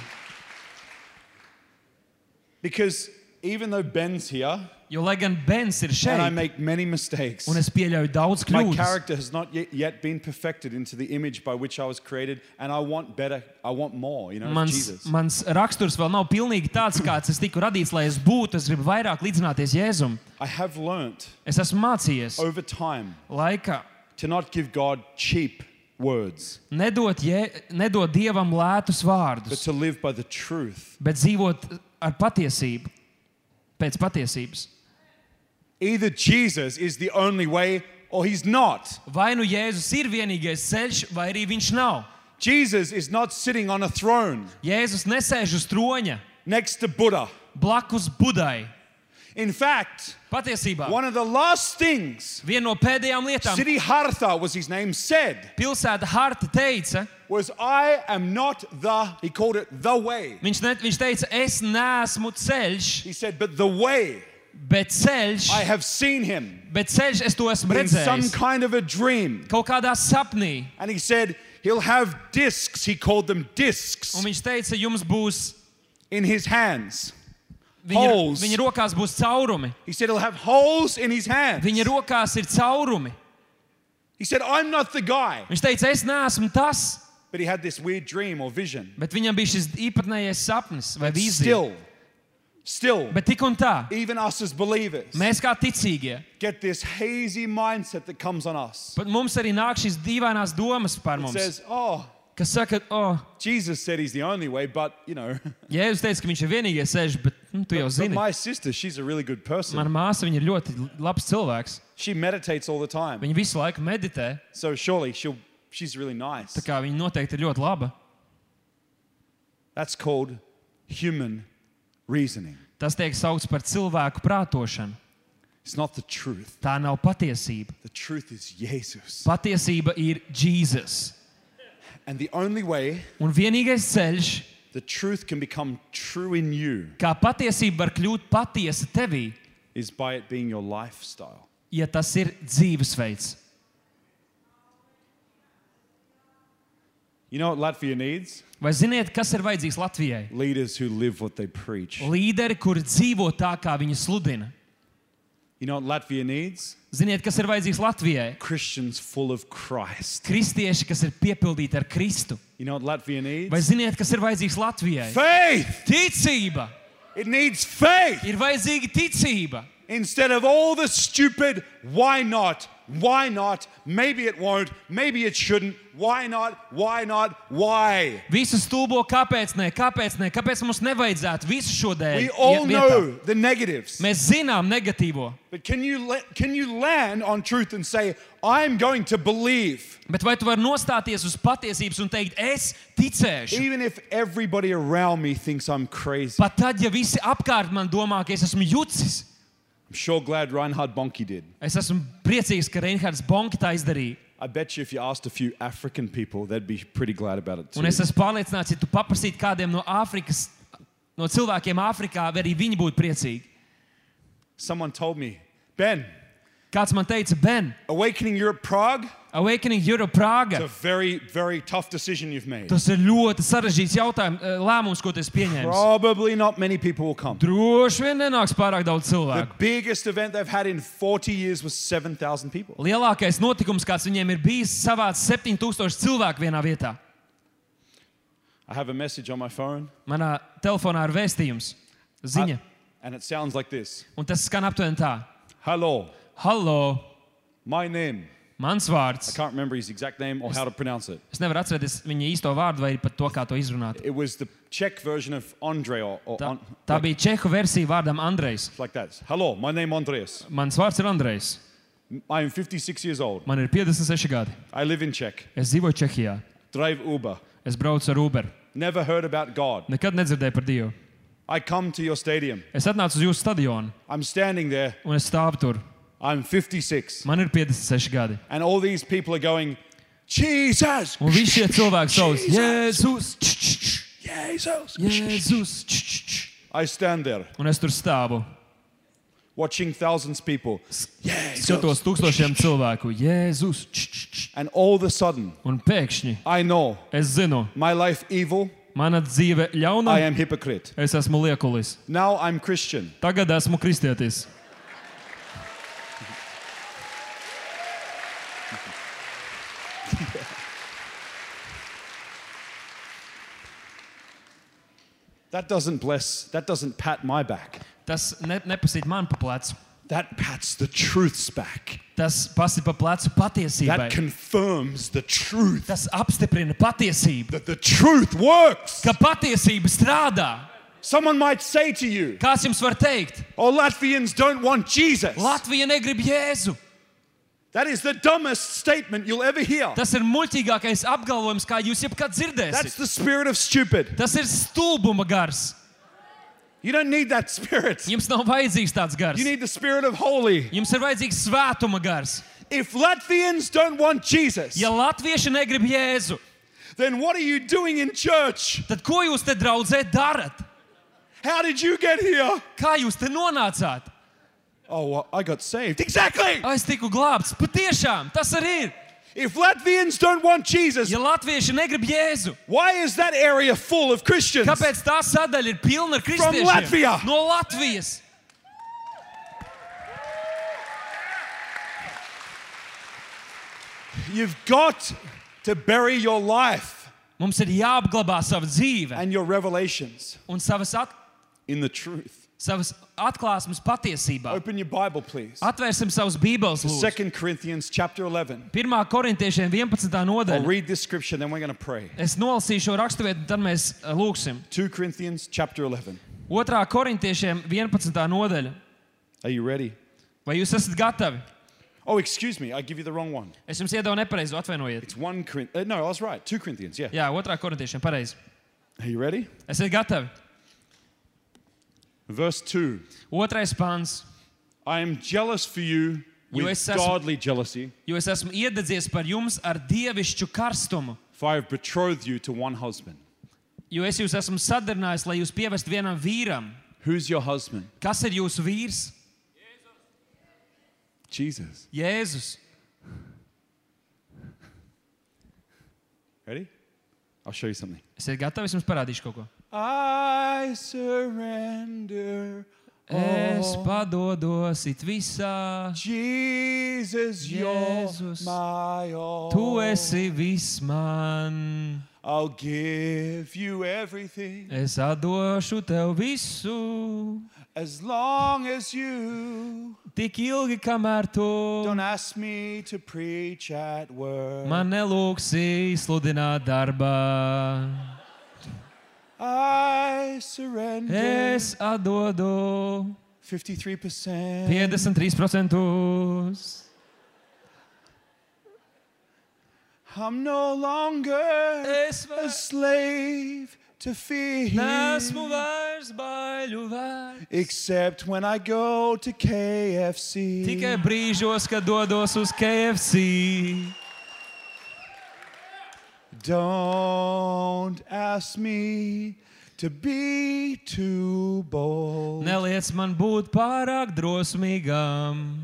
Speaker 1: Because even though Ben's here
Speaker 2: Jo, lai gan Bens ir
Speaker 1: and I
Speaker 2: šeit,
Speaker 1: make many mistakes,
Speaker 2: un es pieļauju daudz
Speaker 1: my
Speaker 2: kļūdas,
Speaker 1: character has not yet, yet been perfected into the image by which I was created, and I want better, I want more, you know, of
Speaker 2: mans,
Speaker 1: Jesus.
Speaker 2: mans raksturs vēl nav pilnīgi tāds, kāds es tiku radīts, lai es būtu. Es gribu vairāk līdzināties Jēzum.
Speaker 1: I have learnt
Speaker 2: Es esmu mācījies
Speaker 1: over time
Speaker 2: laikā
Speaker 1: to not give God cheap words,
Speaker 2: nedot, jē, nedot Dievam lētus
Speaker 1: but
Speaker 2: vārdus,
Speaker 1: to live by the truth.
Speaker 2: bet dzīvot ar patiesību, pēc patiesības.
Speaker 1: Either Jesus is the only way or he's not.
Speaker 2: Vai nu Jēzus ir vienīgais ceļš, vai arī viņš nav.
Speaker 1: Jesus is not sitting on a throne
Speaker 2: Jēzus nesēž uz troņa
Speaker 1: next to Buddha.
Speaker 2: blakus Budai.
Speaker 1: In fact,
Speaker 2: Patiesībā
Speaker 1: one of the last things
Speaker 2: viena no pēdējām lietām,
Speaker 1: City Hartha was his name, said
Speaker 2: pilsēta Harta teica,
Speaker 1: was I am not the, he called it the way.
Speaker 2: viņš, ne, viņš teica, es neesmu ceļš,
Speaker 1: He said, but the way,
Speaker 2: bet ceļš,
Speaker 1: I have seen him
Speaker 2: bet ceļš es to esmu
Speaker 1: in some
Speaker 2: redzējis.
Speaker 1: kind of a dream.
Speaker 2: Kaut kādā sapnī.
Speaker 1: And he said, he'll have discs, he called them
Speaker 2: Un
Speaker 1: discs,
Speaker 2: viņš teica, jums būs,
Speaker 1: in his hands.
Speaker 2: viņa,
Speaker 1: Holes.
Speaker 2: viņa rokās būs caurumi.
Speaker 1: He said, he'll have holes in his hands.
Speaker 2: Viņa rokās ir caurumi.
Speaker 1: He said, I'm not the guy.
Speaker 2: Viņš teica, es neesmu tas,
Speaker 1: But he had this weird dream or vision.
Speaker 2: bet viņam bija šis īpatnējais sapnis vai vīzija.
Speaker 1: Still, still,
Speaker 2: Bet tik un tā,
Speaker 1: even us as believers
Speaker 2: mēs kā ticīgie,
Speaker 1: get this hazy mindset that comes on us.
Speaker 2: pat mums arī nāk šīs dīvainās domas par
Speaker 1: It
Speaker 2: mums,
Speaker 1: says, oh,
Speaker 2: kas saka, o, oh,
Speaker 1: Jesus said he's the only way, but you know,
Speaker 2: Jēzus teica, ka viņš ir vienīgais ceļš, bet nu, tu jau
Speaker 1: but
Speaker 2: zini,
Speaker 1: my sister, she's a really good person.
Speaker 2: mana māsa viņa ir ļoti labs cilvēks.
Speaker 1: She meditates all the time,
Speaker 2: Viņa visu laiku meditē,
Speaker 1: so surely she'll she's really nice.
Speaker 2: tā kā viņa noteikti ir ļoti laba.
Speaker 1: That's called human reasoning.
Speaker 2: Tas tiek saukts par cilvēku prātošanu.
Speaker 1: It's not the truth.
Speaker 2: Tā nav patiesība.
Speaker 1: The truth is Jesus.
Speaker 2: Patiesība ir Jēzus.
Speaker 1: And the only way
Speaker 2: Un vienīgais ceļš,
Speaker 1: the truth can become true in you
Speaker 2: kā patiesība var kļūt patiesa tevī,
Speaker 1: is by it being your lifestyle.
Speaker 2: ja tas ir dzīvesveids.
Speaker 1: You know what Latvia needs?
Speaker 2: Vai ziniet, kas ir vajadzīgs Latvijai?
Speaker 1: Leaders who live what they preach.
Speaker 2: Līderi, kuri dzīvo tā, kā viņi sludina.
Speaker 1: You know what Latvia needs?
Speaker 2: Ziniet, kas ir vajadzīgs Latvijai?
Speaker 1: Christians full of Christ.
Speaker 2: Kristieši, kas ir piepildīti ar Kristu.
Speaker 1: You know what Latvia
Speaker 2: Vai
Speaker 1: needs?
Speaker 2: ziniet, kas ir vajadzīgs Latvijai?
Speaker 1: Faith!
Speaker 2: Ticība!
Speaker 1: It needs faith!
Speaker 2: Ir vajadzīga ticība.
Speaker 1: Instead of all the stupid why not Why not? Maybe it won't. Maybe it shouldn't. Why not? Why not? Why?
Speaker 2: Visu stulbo, kāpēc ne, kāpēc ne, kāpēc mums nevajadzētu visu šo dēļ.
Speaker 1: We
Speaker 2: iet
Speaker 1: all
Speaker 2: vietā?
Speaker 1: know the negatives.
Speaker 2: Mēs zinām negatīvo,
Speaker 1: But can you, la- can you land on truth and say, I'm going to believe,
Speaker 2: bet vai tu vari nostāties uz patiesības un teikt, es ticēšu?
Speaker 1: even if everybody around me thinks I'm crazy?
Speaker 2: Pat tad, ja visi apkārt man domā, ka es esmu jucis,
Speaker 1: I'm sure glad Reinhard Bonnke did.
Speaker 2: es esmu priecīgs, ka Reinhards Bonke tā izdarīja.
Speaker 1: I bet you if you asked a few African people, they'd be pretty glad about it too.
Speaker 2: Un es esmu pārliecināts, ja tu paprasītu kādiem no Āfrikas, no cilvēkiem Āfrikā, vai arī viņi būtu priecīgi.
Speaker 1: Someone told me, Ben,
Speaker 2: Kāds man teica, Ben,
Speaker 1: Awakening Europe Prague,
Speaker 2: Awakening Europe Prāga.
Speaker 1: it's a very, very tough decision you've made.
Speaker 2: Tas ir ļoti sarežģīts jautājums, eh, lēmums, ko tu esi pieņēmis.
Speaker 1: Probably not many people will come.
Speaker 2: Droši vien nenāks pārāk daudz
Speaker 1: The
Speaker 2: cilvēku.
Speaker 1: biggest event they've had in 40 years was 7,000 people.
Speaker 2: Lielākais notikums, kāds viņiem ir bijis, savāca 7000 cilvēku vienā vietā.
Speaker 1: I have a message on my phone.
Speaker 2: Manā telefonā ir vēstījums, ziņa,
Speaker 1: And it sounds like this
Speaker 2: un tas skan aptuveni tā:
Speaker 1: Hello,
Speaker 2: Hallo,
Speaker 1: my name.
Speaker 2: mans
Speaker 1: I
Speaker 2: vārds.
Speaker 1: can't remember his exact name or how to pronounce it.
Speaker 2: Es nevaru atcerēties viņa īsto vārdu vai pat to, kā to izrunāt.
Speaker 1: It was the Czech version of Andre or, or
Speaker 2: Tā,
Speaker 1: An-
Speaker 2: tā bija čehu versija vārdam Andrejs.
Speaker 1: like that. Hello, my name Andreas.
Speaker 2: Mans vārds ir Andrejs.
Speaker 1: I am 56 years old.
Speaker 2: Man ir 56 gadi.
Speaker 1: I live in Czech.
Speaker 2: Es dzīvoju Čehijā.
Speaker 1: Drive Uber.
Speaker 2: Es braucu ar Uber.
Speaker 1: Never heard about God.
Speaker 2: Nekad nedzirdēju par Dievu.
Speaker 1: I come to your stadium.
Speaker 2: Es atnācu uz jūsu stadionu.
Speaker 1: I'm standing there.
Speaker 2: un es stāvu tur.
Speaker 1: I'm 56.
Speaker 2: Man ir 56 gadi.
Speaker 1: And all these people are going, Jesus!
Speaker 2: Un visi šie cilvēki sauc, Jēzus, č, č, č,
Speaker 1: Jesus!
Speaker 2: Jēzus, č, č, č.
Speaker 1: I stand there
Speaker 2: un es tur stāvu.
Speaker 1: watching thousands people.
Speaker 2: Skatos tūkstošiem cilvēku, Jēzus, č, č, č.
Speaker 1: And all of a sudden,
Speaker 2: un pēkšņi
Speaker 1: I know
Speaker 2: es zinu,
Speaker 1: my life evil.
Speaker 2: mana dzīve
Speaker 1: I
Speaker 2: ļauna,
Speaker 1: am hypocrite.
Speaker 2: es esmu liekulis.
Speaker 1: Now I'm Christian.
Speaker 2: Tagad esmu kristietis.
Speaker 1: That doesn't bless, that doesn't pat my back.
Speaker 2: Tas ne, nepasīt man pa plecu.
Speaker 1: That pats the truth's back.
Speaker 2: Tas pasīt pa plecu
Speaker 1: That
Speaker 2: patiesībai.
Speaker 1: confirms the truth.
Speaker 2: Tas apstiprina patiesību.
Speaker 1: That the truth works.
Speaker 2: Ka patiesība strādā.
Speaker 1: Someone might say to you,
Speaker 2: Kāds jums var teikt?
Speaker 1: oh, Latvians don't want Jesus.
Speaker 2: Latvija negrib Jēzu.
Speaker 1: That is the dumbest statement you'll ever hear.
Speaker 2: Tas ir muļķīgākais apgalvojums, kā jūs jebkad
Speaker 1: That's
Speaker 2: dzirdēsiet.
Speaker 1: the spirit of stupid.
Speaker 2: Tas ir stulbuma gars.
Speaker 1: You don't need that spirit.
Speaker 2: Jums nav vajadzīgs tāds gars.
Speaker 1: You need the spirit of holy.
Speaker 2: Jums ir vajadzīgs svētuma gars.
Speaker 1: If Latvians don't want Jesus,
Speaker 2: Ja latvieši negrib Jēzu,
Speaker 1: then what are you doing in church?
Speaker 2: tad ko jūs te draudzē darat?
Speaker 1: How did you get here?
Speaker 2: Kā jūs te nonācāt?
Speaker 1: Oh, well, I got saved. Exactly.
Speaker 2: Ai, Es tiku glābts. Patiešām, tas arī ir.
Speaker 1: If Latvians don't want Jesus,
Speaker 2: Ja latvieši negrib Jēzu,
Speaker 1: why is that area full of Christians?
Speaker 2: kāpēc tā sadaļa ir pilna ar
Speaker 1: Latvijā.
Speaker 2: kristiešiem? No Latvijas!
Speaker 1: You've got to bury your life
Speaker 2: Mums ir jāapglabā sava dzīve
Speaker 1: and your revelations
Speaker 2: un savas, at,
Speaker 1: in the truth.
Speaker 2: savas atklāsmes patiesībā.
Speaker 1: Open your Bible, please.
Speaker 2: Atvērsim savus bībeles, lūdzu.
Speaker 1: 2 Corinthians chapter 11.
Speaker 2: 1. korintiešiem 11.
Speaker 1: I'll
Speaker 2: nodaļa.
Speaker 1: read this scripture, then we're going to pray.
Speaker 2: Es nolasīšu šo raksturvietu, un tad mēs eh, lūgsim.
Speaker 1: 2 Corinthians chapter 11.
Speaker 2: 2. korintiešiem 11. nodaļa.
Speaker 1: Are you ready?
Speaker 2: Vai jūs esat gatavi?
Speaker 1: Oh, excuse me, I give you the wrong one.
Speaker 2: Es jums iedodu nepareizu, atvainojiet.
Speaker 1: It's 1 Corinthians. no, I was right. 2 Corinthians, yeah.
Speaker 2: Jā, 2. korintiešiem pareizi.
Speaker 1: Are you ready?
Speaker 2: Esat gatavi?
Speaker 1: Verse 2.
Speaker 2: Otrais pāns.
Speaker 1: I am jealous for you
Speaker 2: Jo
Speaker 1: with
Speaker 2: es esmu-
Speaker 1: godly jealousy,
Speaker 2: Jo es esmu iededzies par jums ar dievišķu karstumu.
Speaker 1: for I have betrothed you to one husband.
Speaker 2: Jo es jūs esmu sadarinājis, lai jūs pievestu vienam vīram.
Speaker 1: Who's your husband?
Speaker 2: Kas ir jūsu vīrs?
Speaker 1: Jesus.
Speaker 2: Jēzus.
Speaker 1: Ready? I'll show you something.
Speaker 2: Esat gatavi? Es jums parādīšu kaut ko.
Speaker 1: I surrender.
Speaker 2: Es padodos it visā.
Speaker 1: Jesus,
Speaker 2: Jēzus,
Speaker 1: my all.
Speaker 2: Tu esi viss man,
Speaker 1: I'll give you everything
Speaker 2: es atdošu tev visu,
Speaker 1: As long as you
Speaker 2: Tik ilgi, kamēr tu
Speaker 1: don't ask me to preach at work,
Speaker 2: man nelūksi sludināt darbā,
Speaker 1: I surrender
Speaker 2: es atdodu
Speaker 1: 53%.
Speaker 2: 53%.
Speaker 1: I'm no longer
Speaker 2: Es
Speaker 1: a
Speaker 2: vairs
Speaker 1: slave to fear.
Speaker 2: neesmu vairs baļu vērts.
Speaker 1: Except when I go to KFC.
Speaker 2: Tikai brīžos, kad dodos uz KFC.
Speaker 1: Don't ask me to be too bold.
Speaker 2: Neliec man būt pārāk drosmīgam.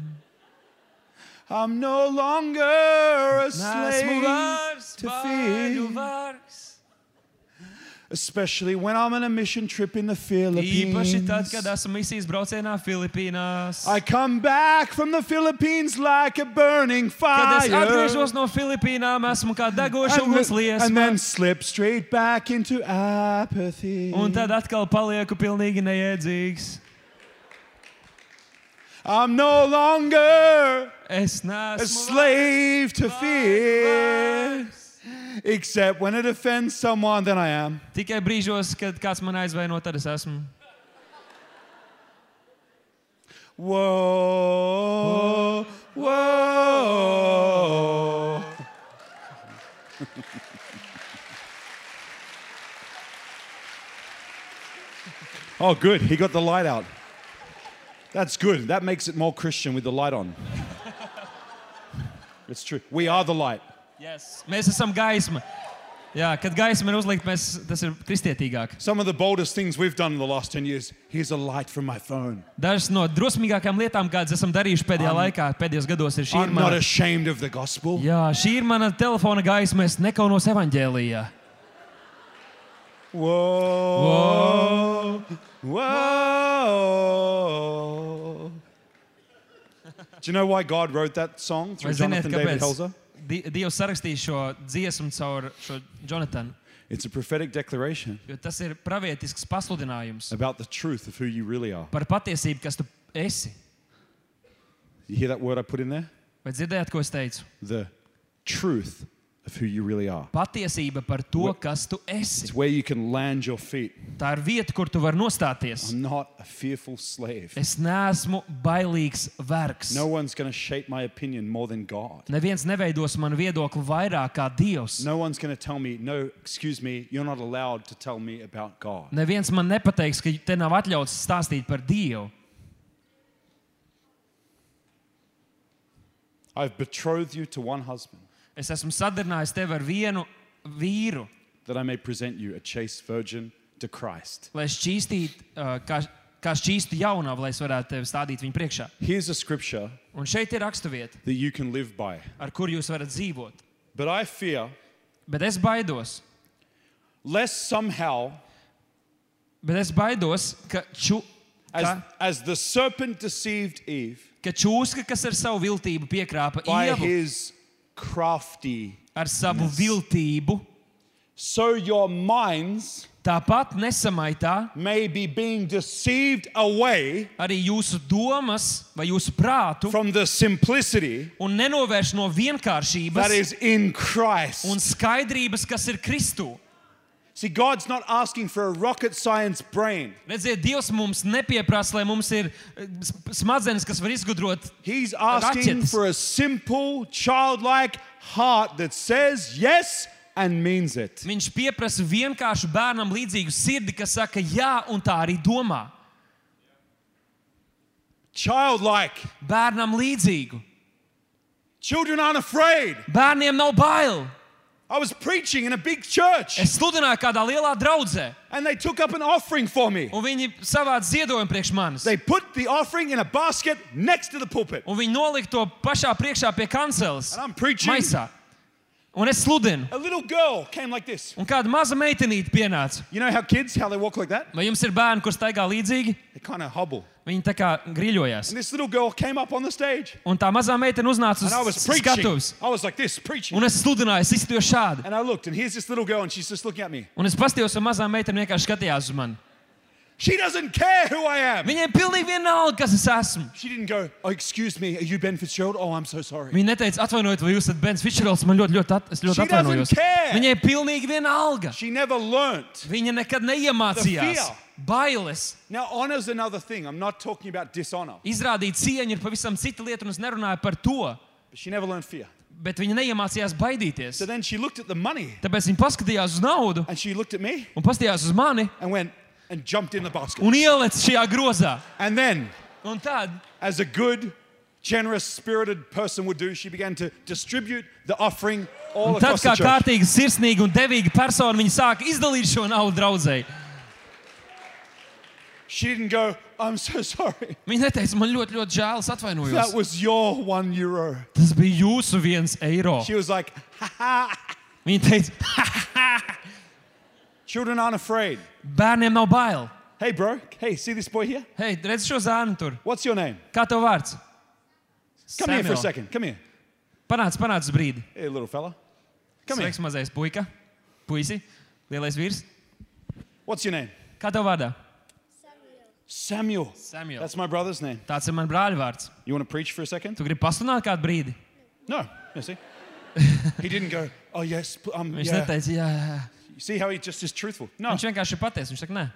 Speaker 1: I'm no longer a
Speaker 2: Nesmu
Speaker 1: slave
Speaker 2: vairs
Speaker 1: to
Speaker 2: baļu
Speaker 1: fear.
Speaker 2: vērts.
Speaker 1: Especially when I'm on a mission trip in the
Speaker 2: Īpaši tad,
Speaker 1: Philippines.
Speaker 2: kad esmu misijas braucienā Filipīnās.
Speaker 1: I come back from the Philippines like a burning
Speaker 2: Kad
Speaker 1: fire.
Speaker 2: es atgriežos no Filipīnām, esmu kā degošs
Speaker 1: and,
Speaker 2: uguns
Speaker 1: then- and
Speaker 2: liesma.
Speaker 1: then slip straight back into apathy.
Speaker 2: Un tad atkal palieku pilnīgi neiedzīgs.
Speaker 1: I'm no longer
Speaker 2: Es
Speaker 1: a
Speaker 2: neesmu
Speaker 1: slave to fear.
Speaker 2: vairs.
Speaker 1: Except when it offends someone, then I am.
Speaker 2: Tikai brīžos, kad kāds man aizvaino, tad es esmu.
Speaker 1: Whoa, whoa. oh, good. He got the light out. That's good. That makes it more Christian with the light on. it's true. We are the light.
Speaker 2: Yes. Mēs esam gaisma. Jā, kad gaisma ir uzlikta, mēs, tas ir kristietīgāk.
Speaker 1: Some of the boldest things we've done in the last 10 years. Here's a light from my phone.
Speaker 2: Dažas no drosmīgākajām lietām, kādas esam darījuši pēdējā um, laikā, pēdējos gados, ir šī
Speaker 1: I'm
Speaker 2: ir
Speaker 1: not
Speaker 2: mana.
Speaker 1: ashamed of the gospel.
Speaker 2: Jā, šī ir mana telefona gaisma. Es nekaunos evaņģēlijā.
Speaker 1: Whoa. Whoa. Do you know why God wrote that song through
Speaker 2: Vai ziniet,
Speaker 1: Jonathan David
Speaker 2: kāpēc?
Speaker 1: Helzer?
Speaker 2: Di Dievs sarakstīja šo dziesmu caur šo Jonatanu,
Speaker 1: It's a prophetic declaration
Speaker 2: jo tas ir pravietisks pasludinājums
Speaker 1: about the truth of who you really are.
Speaker 2: par patiesību, kas tu esi.
Speaker 1: You hear that word I put in there?
Speaker 2: Vai dzirdējāt, ko es teicu?
Speaker 1: The truth of who you really are.
Speaker 2: Patiesība par to,
Speaker 1: What-
Speaker 2: kas tu esi.
Speaker 1: It's where you can land your feet.
Speaker 2: Tā ir vieta, kur tu vari nostāties.
Speaker 1: I'm not a fearful slave.
Speaker 2: Es neesmu bailīgs vergs.
Speaker 1: No one's going to shape my opinion more than God.
Speaker 2: Neviens neveidos manu viedokli vairāk kā Dievs.
Speaker 1: No one's going to tell me, no, excuse me, you're not allowed to tell me about God.
Speaker 2: Neviens man nepateiks, ka te nav atļauts stāstīt par Dievu.
Speaker 1: I've betrothed you to one husband.
Speaker 2: Es esmu sadarbojies tevi ar vienu vīru,
Speaker 1: that I may present you a chaste virgin to Christ.
Speaker 2: lai šķīstītu, uh, kā, kā šķīstu jaunāvu, lai es varētu tevi stādīt viņa priekšā.
Speaker 1: Here's a scripture
Speaker 2: Un šeit ir raksturvieta,
Speaker 1: that you can live by.
Speaker 2: ar kuru jūs varat dzīvot.
Speaker 1: But I fear
Speaker 2: Bet es baidos,
Speaker 1: lest somehow,
Speaker 2: bet es baidos ka, ču, ka,
Speaker 1: as, as the serpent deceived Eve
Speaker 2: ka čūska, kas ar savu viltību piekrāpa
Speaker 1: by
Speaker 2: ievu,
Speaker 1: his crafty,
Speaker 2: ar savu viltību,
Speaker 1: so your minds
Speaker 2: tāpat nesamaitā
Speaker 1: may be being deceived away
Speaker 2: arī jūsu domas vai jūsu prātu
Speaker 1: from the simplicity
Speaker 2: un nenovērš no
Speaker 1: that
Speaker 2: vienkāršības
Speaker 1: is in
Speaker 2: un
Speaker 1: Christ.
Speaker 2: skaidrības, kas ir Kristū.
Speaker 1: See, God's not asking for a rocket science brain,
Speaker 2: Redziet, Dievs mums nepieprasa, lai mums ir eh, sm- smadzenes, kas var izgudrot.
Speaker 1: He's asking
Speaker 2: Ratchet.
Speaker 1: for a simple, childlike heart that says yes and means it.
Speaker 2: Viņš pieprasa vienkāršu bērnam līdzīgu sirdi, kas saka, jā, un tā arī domā.
Speaker 1: Childlike.
Speaker 2: Bērnam līdzīgu.
Speaker 1: Children aren't afraid.
Speaker 2: Bērniem nav bail.
Speaker 1: I was preaching in a big church
Speaker 2: Es sludināju kādā lielā draudzē,
Speaker 1: and they took up an offering for me.
Speaker 2: un viņi savāca ziedojumu priekš manis.
Speaker 1: They put the offering in a basket next to the pulpit.
Speaker 2: Un viņi nolika to pašā priekšā pie kanceles.
Speaker 1: And I'm preaching.
Speaker 2: Maisā. Un es sludinu.
Speaker 1: A little girl came like this.
Speaker 2: Un kāda maza meitenīte pienāca.
Speaker 1: You know how kids, how they walk like that?
Speaker 2: Vai jums ir bērni, kurš staigā līdzīgi?
Speaker 1: They kind of hobble.
Speaker 2: Viņi tā kā griļojās.
Speaker 1: And this little girl came up on the stage
Speaker 2: Un tā mazā meitene uznāca
Speaker 1: and I
Speaker 2: uz
Speaker 1: was preaching.
Speaker 2: skatuves.
Speaker 1: I was like this, preaching.
Speaker 2: Un es sludināju, es izturēju šādi.
Speaker 1: And I looked and here's this little girl and she's just looking at me.
Speaker 2: Un es paskatījos, un mazā meitene vienkārši skatījās uz mani.
Speaker 1: She doesn't care who I am.
Speaker 2: Viņai pilnīgi vienalga, kas es esmu.
Speaker 1: She didn't go, oh, excuse me, are you Ben Fitzgerald? Oh, I'm so sorry.
Speaker 2: Viņa neteica, atvainojiet, vai jūs esat Bens Fitzgeralds. Man ļoti, ļoti, at, es ļoti
Speaker 1: She doesn't
Speaker 2: atvainojos.
Speaker 1: care.
Speaker 2: Viņai pilnīgi vienalga.
Speaker 1: She never learnt.
Speaker 2: Viņa nekad
Speaker 1: The
Speaker 2: neiemācījās
Speaker 1: fear.
Speaker 2: bailes.
Speaker 1: Now, honor's another thing. I'm not talking about dishonor.
Speaker 2: Izrādīt cieņu ir pavisam cita lieta, un es nerunāju par to,
Speaker 1: But she never learned fear.
Speaker 2: bet viņa neiemācījās baidīties.
Speaker 1: So then she looked at the money
Speaker 2: Tāpēc viņa paskatījās uz naudu
Speaker 1: and she looked at me
Speaker 2: un paskatījās uz mani
Speaker 1: and went and jumped in the basket.
Speaker 2: un ielec šajā grozā.
Speaker 1: And then,
Speaker 2: Un tad,
Speaker 1: as a good, generous, spirited person would do, she began to distribute the offering all
Speaker 2: un tad
Speaker 1: across
Speaker 2: kā
Speaker 1: the church.
Speaker 2: kārtīgi, sirsnīgi un devīgi persona, viņa sāk izdalīt šo naudu draudzē.
Speaker 1: She didn't go, I'm so sorry.
Speaker 2: Viņa neteica, man ļoti, ļoti žēl, es
Speaker 1: That
Speaker 2: atvainojos.
Speaker 1: was your one euro.
Speaker 2: Tas bija jūsu viens eiro.
Speaker 1: She was like,
Speaker 2: Viņa teica,
Speaker 1: children aren't afraid.
Speaker 2: bērniem nav bail.
Speaker 1: Hey, bro. Hey, see this boy here?
Speaker 2: Hei, redz šo zēnu tur.
Speaker 1: What's your name?
Speaker 2: Kā tev vārds?
Speaker 1: Come here for a
Speaker 2: Samuel.
Speaker 1: second. Come here.
Speaker 2: Panāc, panāc uz brīdi.
Speaker 1: Hey, little fella. Come here.
Speaker 2: Sveiks, mazais puika. Puisi, lielais vīrs.
Speaker 1: What's your name?
Speaker 2: Kā tev vārdā?
Speaker 1: Samuel.
Speaker 2: Samuel.
Speaker 1: That's my brother's name.
Speaker 2: Tāds ir mans brāļa vārds.
Speaker 1: You want to preach for a second?
Speaker 2: Tu gribi pasludināt kādu brīdi?
Speaker 1: No. Yeah, see? he didn't go, oh, yes. pl- Um,
Speaker 2: Viņš
Speaker 1: yeah.
Speaker 2: neteica, jā, jā. jā.
Speaker 1: You See how he just is truthful? No.
Speaker 2: Viņš vienkārši pateica, viņš saka, nē.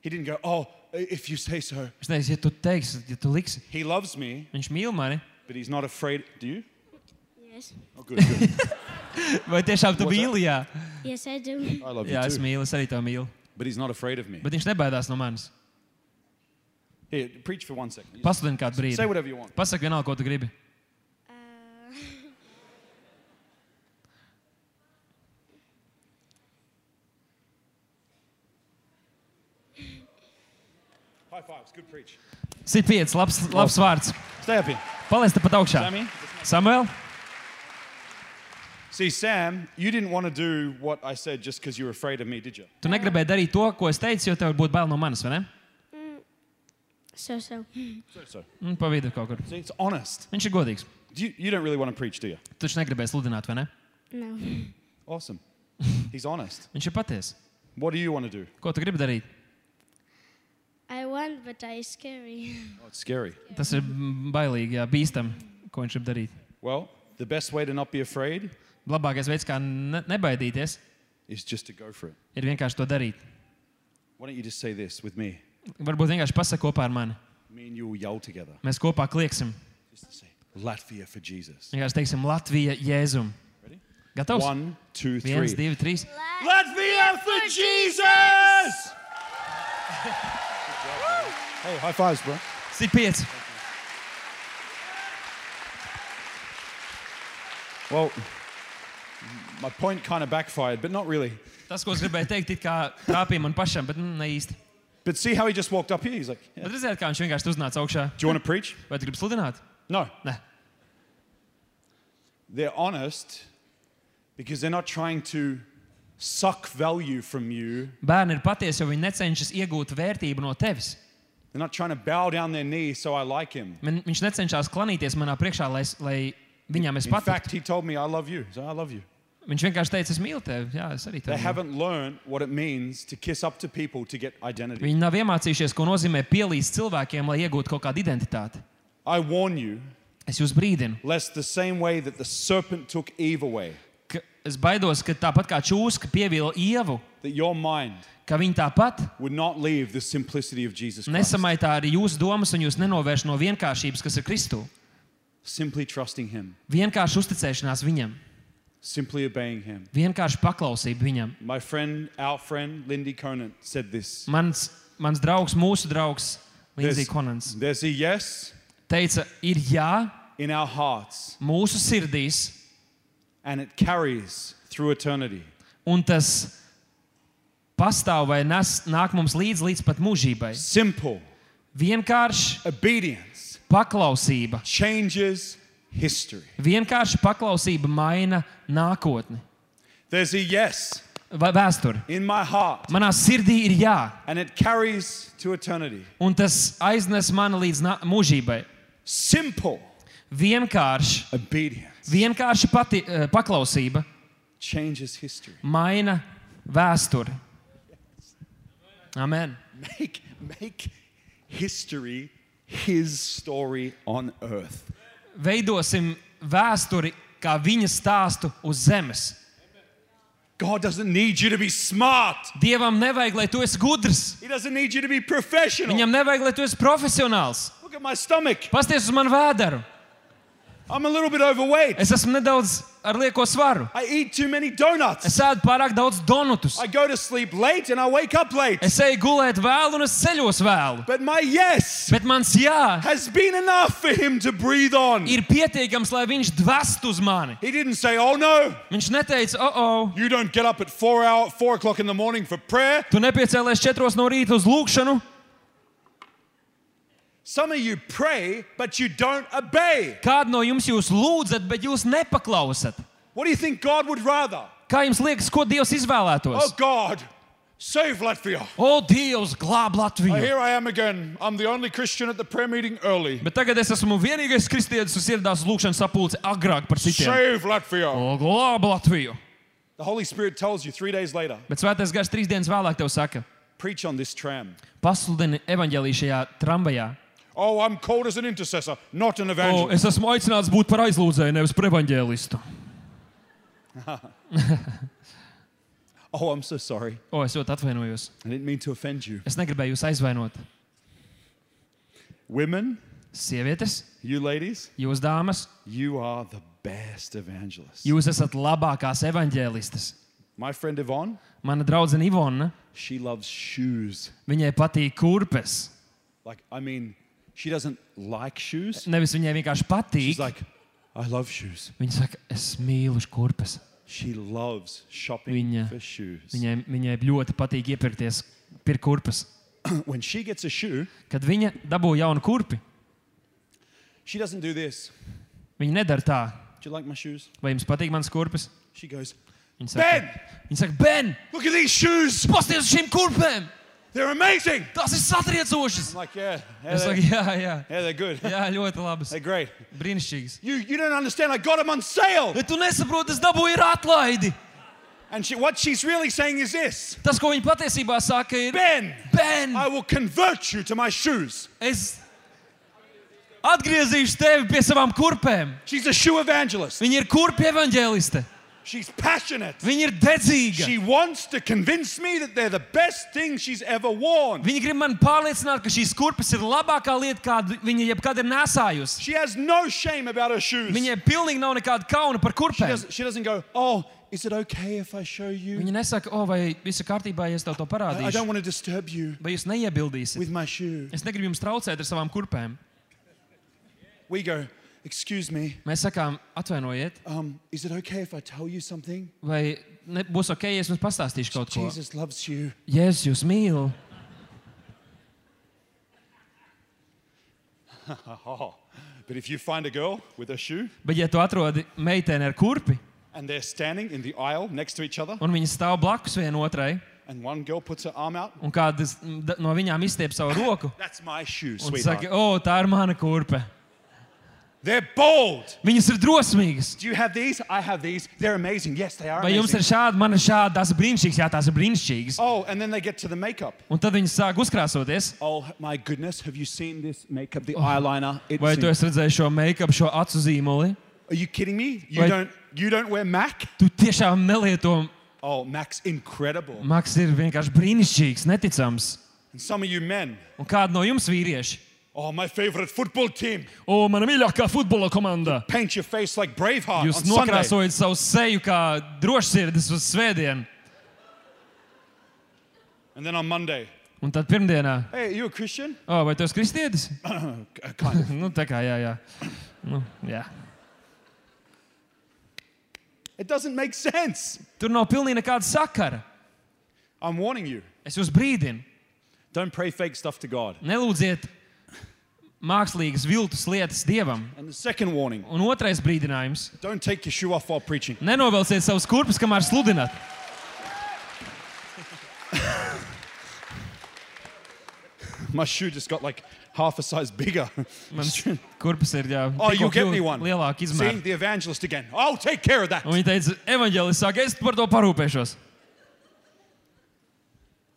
Speaker 1: He didn't go, oh, if you say so.
Speaker 2: Viņš teica, ja tu teiksi, ja tu liksi,
Speaker 1: He loves me,
Speaker 2: viņš mīl mani.
Speaker 1: but he's not afraid. Do you?
Speaker 3: Yes.
Speaker 1: Oh, good, good.
Speaker 2: Vai tiešām tu
Speaker 1: What's that?
Speaker 2: mīli? Jā,
Speaker 3: Yes, I do.
Speaker 1: I love you
Speaker 2: jā es
Speaker 1: too.
Speaker 2: mīlu, es arī to mīlu.
Speaker 1: But he's not afraid of me.
Speaker 2: Bet viņš nebaidās no manis.
Speaker 1: Here, preach for one second.
Speaker 2: Pasludini kādu
Speaker 1: Say
Speaker 2: brīdi.
Speaker 1: whatever you want.
Speaker 2: Pasaki vienalga, ko tu gribi.
Speaker 3: Uh,
Speaker 1: High fives. Good preach.
Speaker 2: Sit pieci, labs, labs vārds.
Speaker 1: Stay up here.
Speaker 2: Palaist te pat augšā.
Speaker 1: Sammy.
Speaker 2: Samuel,
Speaker 1: See, Sam, you didn't want to do what I said just because you were afraid of me, did you?
Speaker 2: tu negribēji darīt to, ko es teicu, jo tev būtu bail no manis, vai ne?
Speaker 3: so so.
Speaker 1: So, so.
Speaker 2: Mm, pa vidu kaut kur.
Speaker 1: See, it's honest.
Speaker 2: Viņš ir godīgs.
Speaker 1: Do you, you don't really want to preach, do you?
Speaker 2: Tu taču negribēji sludināt, vai ne?
Speaker 3: No.
Speaker 1: Awesome. He's honest.
Speaker 2: Viņš ir patiesa.
Speaker 1: What do you want to do?
Speaker 2: Ko tu gribi darīt?
Speaker 3: I want, but I scary.
Speaker 1: Oh, it's scary.
Speaker 2: Tas ir mm, bailīgi, jā, bīstami, ko viņš grib darīt.
Speaker 1: Well, the best way to not be afraid
Speaker 2: Labākais veids, kā ne nebaidīties,
Speaker 1: is just to go for it.
Speaker 2: ir vienkārši to darīt.
Speaker 1: Why don't you just say this with me?
Speaker 2: Varbūt vienkārši pasaki kopā ar mani.
Speaker 1: Me and you will yell together.
Speaker 2: Mēs kopā klieksim.
Speaker 1: Just to say, Latvia for Jesus.
Speaker 2: Vienkārši teiksim, Latvija jēzum.
Speaker 1: Ready?
Speaker 2: Gatavs?
Speaker 1: One, two,
Speaker 2: Viens,
Speaker 1: three.
Speaker 2: divi, trīs.
Speaker 1: Latvia for Jesus! Hey, high fives, bro.
Speaker 2: Sit pieci.
Speaker 1: Well, my point kind of backfired, but not really.
Speaker 2: Tas, ko es gribēju teikt, it kā trāpīja man pašam, bet mm, ne īsti.
Speaker 1: But see how he just walked up here? He's like, yeah.
Speaker 2: Bet redziet, kā viņš vienkārši uznāca augšā.
Speaker 1: Do you want to preach?
Speaker 2: Vai tu gribi sludināt?
Speaker 1: No.
Speaker 2: Nē,
Speaker 1: They're honest because they're not trying to suck value from you.
Speaker 2: bērni ir patiesi, jo viņi necenšas iegūt vērtību no tevis.
Speaker 1: They're not trying to bow down their knee so I like him.
Speaker 2: Man, viņš necenšas klanīties manā priekšā, lai, es- lai viņam es
Speaker 1: In
Speaker 2: patiktu.
Speaker 1: fact, he told me, I love you. So I love you.
Speaker 2: Viņš vienkārši teica, es mīlu tevi. Jā, es arī
Speaker 1: They
Speaker 2: tevi. mīlu."
Speaker 1: haven't learned what it means to kiss up to people to get identity.
Speaker 2: Viņi nav iemācījušies, ko nozīmē pielīst cilvēkiem, lai iegūtu kaut kādu identitāti.
Speaker 1: I warn you,
Speaker 2: Es jūs brīdinu,
Speaker 1: lest the same way that the serpent took Eve away,
Speaker 2: ka es baidos, ka tāpat kā čūska pievīla ievu,
Speaker 1: that your mind
Speaker 2: ka viņi tāpat
Speaker 1: would not leave the simplicity of Jesus Christ.
Speaker 2: nesamaitā arī jūsu domas un jūs nenovērš no vienkāršības, kas ir Kristū.
Speaker 1: Simply trusting him,
Speaker 2: Vienkārši uzticēšanās viņam,
Speaker 1: simply obeying him.
Speaker 2: vienkārši paklausība viņam.
Speaker 1: My friend, our friend, Lindy Conant said this.
Speaker 2: Mans, mans draugs, mūsu draugs Lindsay Konants
Speaker 1: there's a yes
Speaker 2: teica, ir jā
Speaker 1: in our hearts,
Speaker 2: mūsu sirdīs,
Speaker 1: and it carries through eternity.
Speaker 2: un tas pastāv vai nes, nāk mums līdzi līdz pat mūžībai.
Speaker 1: Simple
Speaker 2: Vienkārši
Speaker 1: obedience
Speaker 2: paklausība.
Speaker 1: changes history.
Speaker 2: Vienkārši paklausība maina nākotni,
Speaker 1: There's a yes
Speaker 2: va- vēsturi.
Speaker 1: in my heart,
Speaker 2: Manā sirdī ir jā,
Speaker 1: and it carries to eternity.
Speaker 2: un tas aiznes mani līdz nā- mūžībai.
Speaker 1: Simple
Speaker 2: Vienkārši,
Speaker 1: obedience
Speaker 2: vienkārši pati, eh, paklausība
Speaker 1: changes history.
Speaker 2: maina vēsturi. Amen.
Speaker 1: Make, make history his story on earth.
Speaker 2: Veidosim vēsturi kā viņa stāstu uz zemes.
Speaker 1: God doesn't need you to be smart.
Speaker 2: Dievam nevajag, lai tu esi gudrs.
Speaker 1: He doesn't need you to be professional.
Speaker 2: Viņam nevajag, lai tu esi profesionāls.
Speaker 1: Look at my stomach.
Speaker 2: Pasties uz manu vēderu.
Speaker 1: I'm a little bit overweight.
Speaker 2: Es esmu nedaudz ar lieko svaru.
Speaker 1: I eat too many donuts.
Speaker 2: Es ēdu pārāk daudz donutus.
Speaker 1: I go to sleep late and I wake up late.
Speaker 2: Es eju gulēt vēlu un es ceļos vēlu.
Speaker 1: But my yes
Speaker 2: Bet mans jā
Speaker 1: has been enough for him to breathe on.
Speaker 2: ir pietiekams, lai viņš dvest uz mani.
Speaker 1: He didn't say, Oh no,
Speaker 2: Viņš neteica, oh, oh,
Speaker 1: you don't get up at four, hour, four o'clock in the morning for prayer.
Speaker 2: tu nepiecēlies četros no rīta uz lūkšanu.
Speaker 1: Some of you pray, but you don't obey.
Speaker 2: Kādu no jums jūs lūdzat, bet jūs nepaklausat?
Speaker 1: What do you think God would rather?
Speaker 2: Kā jums liekas, ko Dievs
Speaker 1: Oh
Speaker 2: izvēlētos?
Speaker 1: God, save Latvia.
Speaker 2: O, Dievs, glāb
Speaker 1: Uh,
Speaker 2: Latviju!
Speaker 1: Here I am again. I'm the only Christian at the prayer meeting early.
Speaker 2: Bet tagad es esmu vienīgais kristietis, kas ieradās lūkšanas sapulcē agrāk par citiem.
Speaker 1: Save Latvia.
Speaker 2: O, glāb Latviju!
Speaker 1: The Holy Spirit tells you three days later
Speaker 2: Bet svētais gars trīs dienas vēlāk tev saka,
Speaker 1: preach on this tram.
Speaker 2: pasludini evaņģēlī šajā tramvajā.
Speaker 1: Oh, I'm called as an intercessor, not an
Speaker 2: O,
Speaker 1: evangelist.
Speaker 2: es esmu aicināts būt par aizlūdzēju, nevis par evaņģēlistu.
Speaker 1: Oh, I'm so sorry.
Speaker 2: O, es ļoti atvainojos.
Speaker 1: I didn't mean to offend you.
Speaker 2: Es negribēju jūs aizvainot.
Speaker 1: Women,
Speaker 2: Sievietes,
Speaker 1: you ladies,
Speaker 2: jūs dāmas,
Speaker 1: you are the best evangelists.
Speaker 2: jūs esat labākās evaņģēlistes.
Speaker 1: My friend Yvonne,
Speaker 2: Mana draudzene Ivona,
Speaker 1: she loves shoes.
Speaker 2: viņai patīk kurpes.
Speaker 1: Like, I mean, she doesn't like shoes.
Speaker 2: Nevis viņai vienkārši
Speaker 1: She's
Speaker 2: patīk.
Speaker 1: like, I love shoes.
Speaker 2: Viņa saka, es mīlu kurpes.
Speaker 1: She loves shopping
Speaker 2: Viņa-
Speaker 1: for shoes.
Speaker 2: Viņai, viņai ļoti patīk iepirkties pir kurpes.
Speaker 1: when she gets a shoe,
Speaker 2: Kad viņa dabū jaunu kurpi,
Speaker 1: she doesn't do this.
Speaker 2: viņa nedara tā,
Speaker 1: Do you like my shoes?
Speaker 2: vai jums patīk mans kurpes.
Speaker 1: She goes,
Speaker 2: Viņa saka, Viņa saka Ben,
Speaker 1: Look at these shoes.
Speaker 2: pasties uz šīm kurpēm!
Speaker 1: They're amazing.
Speaker 2: Tās ir satriecošas!
Speaker 1: I'm like, yeah, yeah,
Speaker 2: Es
Speaker 1: they're,
Speaker 2: saku, jā, jā,
Speaker 1: yeah, they're good.
Speaker 2: jā, ļoti labas,
Speaker 1: They're great.
Speaker 2: brīnišķīgas.
Speaker 1: You, you don't understand. I got them on sale.
Speaker 2: Bet tu nesaproti, es dabūju ir atlaidi.
Speaker 1: And she, what she's really saying is this
Speaker 2: Tas, ko viņa patiesībā saka, ir,
Speaker 1: Ben,
Speaker 2: Ben,
Speaker 1: I will convert you to my shoes.
Speaker 2: es atgriezīšu tevi pie savām kurpēm.
Speaker 1: She's a shoe evangelist.
Speaker 2: Viņa ir kurpju evanģēliste.
Speaker 1: She's passionate.
Speaker 2: Viņa ir dedzīga.
Speaker 1: She wants to convince me that they're the best thing she's ever worn.
Speaker 2: Viņa grib man pārliecināt, ka šīs kurpes ir labākā lieta, kādu viņa jebkad ir nesājusi.
Speaker 1: She has no shame about her shoes. She
Speaker 2: Viņai pilnīgi nav nekāda kauna par kurpēm.
Speaker 1: doesn't, she doesn't go, oh, is it okay if I show you?
Speaker 2: Viņa nesaka, o, vai viss ir kārtībā, ja es tev to
Speaker 1: I, I don't
Speaker 2: parādīšu.
Speaker 1: want to disturb you
Speaker 2: Vai jūs neiebildīsiet?
Speaker 1: with my shoe.
Speaker 2: Es negribu jums traucēt ar savām kurpēm.
Speaker 1: We go, excuse me,
Speaker 2: Mēs sakām, atvainojiet,
Speaker 1: um, is it okay if I tell you something?
Speaker 2: vai ne, būs ok, ja es jums pastāstīšu kaut ko.
Speaker 1: Jesus loves you.
Speaker 2: Jēzus, jūs mīlu.
Speaker 1: Oh, but if you find a girl with a shoe
Speaker 2: Bet, ja tu atrodi meiteni ar kurpi,
Speaker 1: and they're standing in the aisle next to each other,
Speaker 2: un viņi stāv blakus vienotrai,
Speaker 1: and one girl puts her arm out,
Speaker 2: un kāda no viņām izstiep savu roku
Speaker 1: that's my shoe,
Speaker 2: un
Speaker 1: sweetheart.
Speaker 2: saka, o, tā ir mana kurpe.
Speaker 1: They're bold.
Speaker 2: Viņas ir drosmīgas.
Speaker 1: Do you have these? I have these. They're amazing. Yes, they are
Speaker 2: Vai jums
Speaker 1: amazing.
Speaker 2: ir šādi, man ir šādi, tās ir brīnišķīgas, jā, tās ir brīnišķīgas.
Speaker 1: Oh, and then they get to the makeup.
Speaker 2: Un tad viņi sāk uzkrāsoties.
Speaker 1: Oh my goodness, have you seen this makeup, the eyeliner? It's
Speaker 2: Vai tu esi redzējis šo make-up, šo acu zīmoli?
Speaker 1: Are you kidding me? You
Speaker 2: Wait.
Speaker 1: don't you don't wear Mac?
Speaker 2: Tu tiešām nelieto.
Speaker 1: Oh, Mac's incredible.
Speaker 2: Maks ir vienkārši brīnišķīgs, neticams.
Speaker 1: And some of you men.
Speaker 2: Un kāda no jums vīrieši?
Speaker 1: Oh, my favorite football team.
Speaker 2: O, mana mīļākā futbola komanda!
Speaker 1: Paint your face like Braveheart
Speaker 2: Jūs
Speaker 1: on Ah, Sunday.
Speaker 2: nokrāsojat savu seju kā drošsirdis uz svētdienu,
Speaker 1: And then on Monday.
Speaker 2: un tad pirmdienā,
Speaker 1: Hey, are you a Christian?
Speaker 2: o, vai tu esi kristietis?
Speaker 1: Uh, kind of.
Speaker 2: Nu, tā kā jā, jā. Nu, jā.
Speaker 1: It doesn't make sense.
Speaker 2: Tur nav pilnīgi nekāda sakara.
Speaker 1: I'm warning you.
Speaker 2: Es jūs brīdinu,
Speaker 1: Don't pray fake stuff to God.
Speaker 2: nelūdziet mākslīgas, viltus lietas dievam.
Speaker 1: And the second warning,
Speaker 2: Un otrais brīdinājums
Speaker 1: don't take your shoe off while preaching.
Speaker 2: - nenovelciet savus kurpes, kamēr sludināt.
Speaker 1: My shoe just got like half a size bigger.
Speaker 2: Mans kurpes ir jau
Speaker 1: Oh, you get me one.
Speaker 2: lielāka
Speaker 1: See,
Speaker 2: izmēra.
Speaker 1: the evangelist again. I'll take care of
Speaker 2: Oh.
Speaker 1: that.
Speaker 2: Un viņa teica, evanģēlis saka, es par to parūpēšos.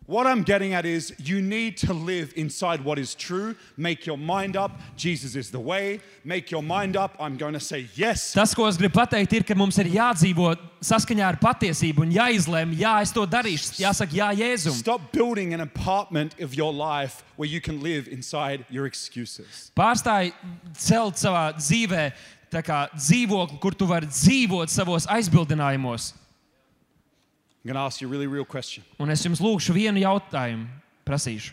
Speaker 1: What I'm getting at is you need to live inside what is true. Make your mind up. Jesus is the way. Make your mind up. I'm going to say yes.
Speaker 2: Tas, ko es gribu pateikt, ir, ka mums ir jādzīvot saskaņā ar patiesību un jāizlemj, jā, es to darīšu. Jāsaka, jā, Jēzum.
Speaker 1: Stop building an apartment of your life where you can live inside your excuses.
Speaker 2: Pārstāj celt savā dzīvē tā kā dzīvokli, kur tu vari dzīvot savos aizbildinājumos.
Speaker 1: I'm going to ask you a really real question.
Speaker 2: Un es jums lūkšu vienu jautājumu, prasīšu.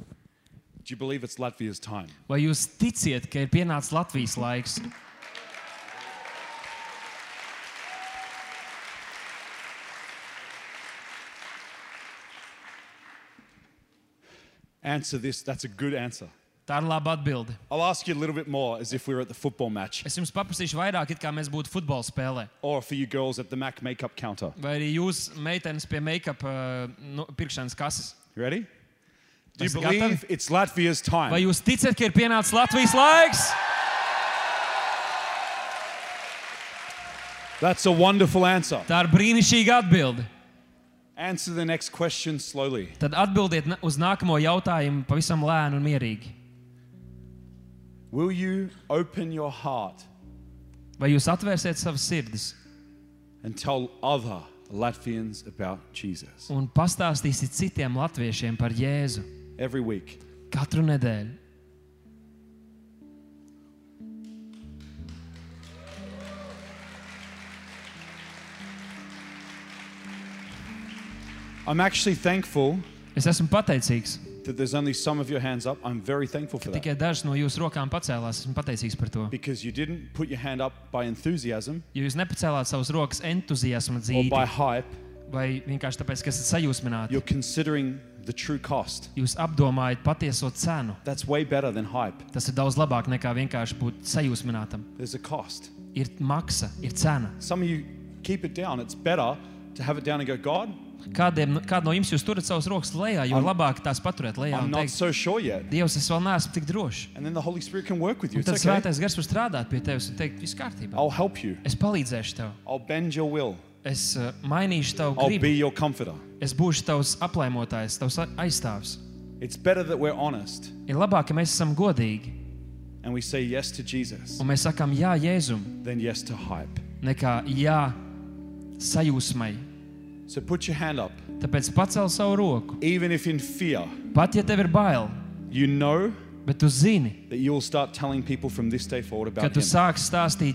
Speaker 1: Do you believe it's Latvia's time?
Speaker 2: Vai jūs ticiet, ka ir pienācis Latvijas laiks?
Speaker 1: Answer this. That's a good answer.
Speaker 2: Tā ir laba atbilde.
Speaker 1: I'll ask you a little bit more as if we were at the football match
Speaker 2: Es jums paprasīšu vairāk, it kā mēs būtu futbola spēlē.
Speaker 1: or for you girls at the Mac makeup counter.
Speaker 2: Vai arī jūs, meitenes, pie make-up uh, nu, pirkšanas kases.
Speaker 1: You ready? Do you
Speaker 2: Mēs gatavi?
Speaker 1: believe it's Latvia's
Speaker 2: Vai
Speaker 1: time?
Speaker 2: jūs ticat, ka ir pienācis Latvijas laiks?
Speaker 1: That's a wonderful answer.
Speaker 2: Tā ir brīnišķīga atbilde.
Speaker 1: Answer the next question slowly.
Speaker 2: Tad atbildiet na- uz nākamo jautājumu pavisam lēni un mierīgi.
Speaker 1: Will you open your heart
Speaker 2: Vai jūs atvērsiet savas sirdis
Speaker 1: and tell other Latvians about Jesus
Speaker 2: un pastāstīsiet citiem latviešiem par Jēzu
Speaker 1: every week?
Speaker 2: katru nedēļu?
Speaker 1: I'm actually thankful
Speaker 2: Es esmu pateicīgs,
Speaker 1: that there's only some of your hands up. I'm very thankful for
Speaker 2: ka
Speaker 1: that
Speaker 2: tikai dažas no jūsu rokām pacēlās. Esmu pateicīgs par to.
Speaker 1: because you didn't put your hand up by enthusiasm
Speaker 2: Jo jūs nepacēlāt savas rokas entuziasma
Speaker 1: or by
Speaker 2: dzīvi,
Speaker 1: hype.
Speaker 2: vai vienkārši tāpēc, ka esat sajūsmināti.
Speaker 1: You're considering the true cost.
Speaker 2: Jūs apdomājat patieso cenu.
Speaker 1: That's way better than hype.
Speaker 2: Tas ir daudz labāk nekā vienkārši būt sajūsminātam.
Speaker 1: There's a cost.
Speaker 2: Ir maksa, ir cena.
Speaker 1: Some of you keep it down. It's better to have it down and go, God,
Speaker 2: Kādiem, kādu no jums jūs turat savas rokas lejā, jo
Speaker 1: I'm-
Speaker 2: labāk tās paturēt lejā
Speaker 1: I'm
Speaker 2: un
Speaker 1: not
Speaker 2: teikt,
Speaker 1: so sure yet.
Speaker 2: Dievs, es vēl neesmu tik drošs.
Speaker 1: And then the Holy Spirit can work with you.
Speaker 2: Un tad
Speaker 1: It's okay.
Speaker 2: svētais gars var strādāt pie tevis un teikt, viss kārtībā.
Speaker 1: I'll help you.
Speaker 2: Es palīdzēšu tev,
Speaker 1: I'll bend your will.
Speaker 2: es uh, mainīšu tavu
Speaker 1: I'll be
Speaker 2: gribu,
Speaker 1: your comforter.
Speaker 2: es būšu tavs aplēmotājs, tavs a- aizstāvis.
Speaker 1: It's better that we're honest
Speaker 2: Ir labāk, ka mēs esam godīgi
Speaker 1: and we say yes to Jesus
Speaker 2: un mēs sakām jā Jēzum,
Speaker 1: than yes to hype.
Speaker 2: nekā jā sajūsmai.
Speaker 1: So put your hand up,
Speaker 2: Tāpēc pacel savu roku.
Speaker 1: even if in fear,
Speaker 2: Pat ja tev ir bail,
Speaker 1: you know
Speaker 2: bet tu zini,
Speaker 1: that you'll start telling people from this day forward
Speaker 2: ka
Speaker 1: about
Speaker 2: tu
Speaker 1: Him.
Speaker 2: sāksi stāstīt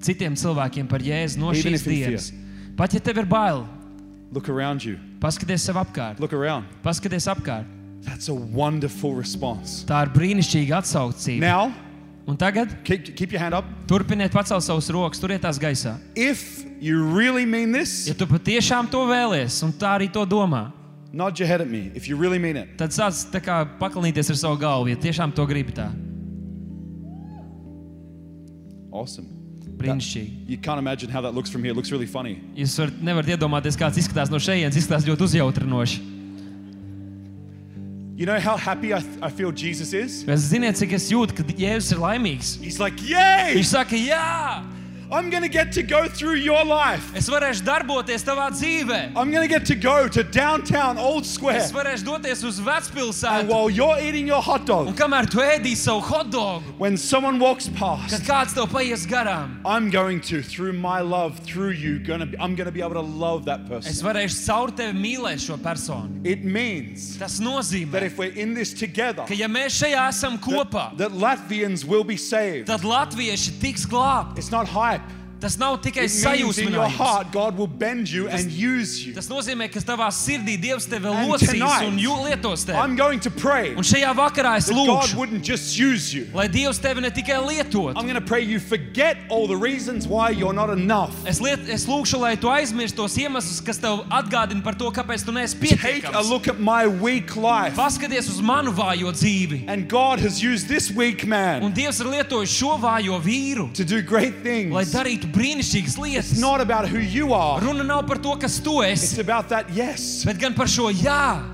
Speaker 2: citiem cilvēkiem par jēzu no
Speaker 1: Even
Speaker 2: šīs
Speaker 1: if you fear.
Speaker 2: dienas. Pat ja tev ir bail,
Speaker 1: Look around you.
Speaker 2: paskaties sev apkārt,
Speaker 1: Look around.
Speaker 2: paskaties apkārt.
Speaker 1: That's a wonderful response.
Speaker 2: Tā ir brīnišķīga atsaucība.
Speaker 1: Now,
Speaker 2: Un tagad
Speaker 1: keep, keep your hand up.
Speaker 2: turpiniet pacelt savus rokas, turiet tās gaisā.
Speaker 1: If you really mean
Speaker 2: Ja
Speaker 1: this,
Speaker 2: tu patiešām to vēlies un tā arī to domā,
Speaker 1: nod your head at me. If you really mean it,
Speaker 2: tad sāc tā kā paklinīties ar savu galvu, ja tiešām to gribi tā.
Speaker 1: awesome.
Speaker 2: Brīnišķīgi.
Speaker 1: You can't imagine how that looks from here. It looks really funny.
Speaker 2: Jūs var, nevarat iedomāties, kāds izskatās no šejienes. Izskatās ļoti uzjautrinoši.
Speaker 1: You know how happy I, I feel Jesus is?
Speaker 2: Es zinu, cik es jūtu, ka Jēzus ir laimīgs.
Speaker 1: He's like, Yay!
Speaker 2: Viņš saka, jā,
Speaker 1: I'm gonna get to go through your life.
Speaker 2: es varēšu darboties tavā dzīvē.
Speaker 1: I'm gonna get to go to downtown Old Square.
Speaker 2: Es varēšu doties uz
Speaker 1: And
Speaker 2: vecpilsētu.
Speaker 1: while you're eating your hot
Speaker 2: Un
Speaker 1: dog,
Speaker 2: kamēr tu ēdīsi savu hotdogu,
Speaker 1: when someone walks
Speaker 2: kad
Speaker 1: past,
Speaker 2: kāds tev paies garām,
Speaker 1: I'm going to, through my love, through you, gonna be, I'm gonna be able to love that
Speaker 2: es
Speaker 1: person.
Speaker 2: varēšu caur tevi mīlēt šo personu.
Speaker 1: It means
Speaker 2: Tas
Speaker 1: that
Speaker 2: nozīmē,
Speaker 1: if we're in this together,
Speaker 2: ka ja mēs šajā esam kopā,
Speaker 1: that, that Latvians will be saved.
Speaker 2: tad latvieši tiks glābti.
Speaker 1: It's not hype.
Speaker 2: Tas nav tikai
Speaker 1: It means in your
Speaker 2: sajūsmā.
Speaker 1: heart, God will bend you and use you.
Speaker 2: Tas nozīmē, ka tavā sirdī Dievs tevi
Speaker 1: And
Speaker 2: locīs
Speaker 1: tonight,
Speaker 2: un jū- lietos tevi.
Speaker 1: I'm going to pray
Speaker 2: Un
Speaker 1: that
Speaker 2: šajā vakarā es
Speaker 1: God
Speaker 2: lūgšu,
Speaker 1: wouldn't just use you.
Speaker 2: lai Dievs tevi ne tikai lietot.
Speaker 1: I'm going to pray you forget all the reasons why you're not enough.
Speaker 2: Es, liet, es lūgšu, lai tu aizmirsti tos iemeslus, kas tev atgādina par to, kāpēc tu neesi
Speaker 1: Take a
Speaker 2: pietiekams.
Speaker 1: look at my weak life.
Speaker 2: Paskaties uz manu vājo dzīvi.
Speaker 1: And God has used this weak
Speaker 2: Un
Speaker 1: man
Speaker 2: Dievs ir lietojis šo vājo vīru,
Speaker 1: to do great
Speaker 2: lai
Speaker 1: things.
Speaker 2: darītu brīnišķīgas lietas.
Speaker 1: It's not about who you are,
Speaker 2: Runa nav par to, kas tu
Speaker 1: it's
Speaker 2: esi,
Speaker 1: about that yes.
Speaker 2: bet gan par šo jā.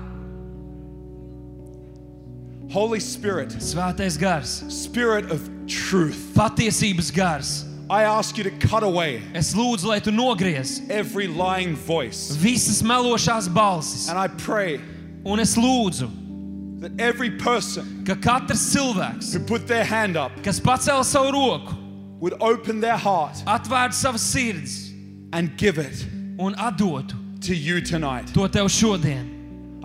Speaker 1: Holy Spirit,
Speaker 2: Svētais gars,
Speaker 1: Spirit of truth,
Speaker 2: patiesības gars.
Speaker 1: I ask you to cut away
Speaker 2: Es lūdzu, lai tu nogriez
Speaker 1: every lying voice.
Speaker 2: visas melošās balsis.
Speaker 1: And I pray
Speaker 2: Un es lūdzu,
Speaker 1: that every person
Speaker 2: ka katrs cilvēks,
Speaker 1: who put their hand up
Speaker 2: kas pacēla savu roku,
Speaker 1: would open their heart
Speaker 2: atvērtu savas sirdis
Speaker 1: and give it
Speaker 2: un atdotu
Speaker 1: to you tonight.
Speaker 2: to tev šodien.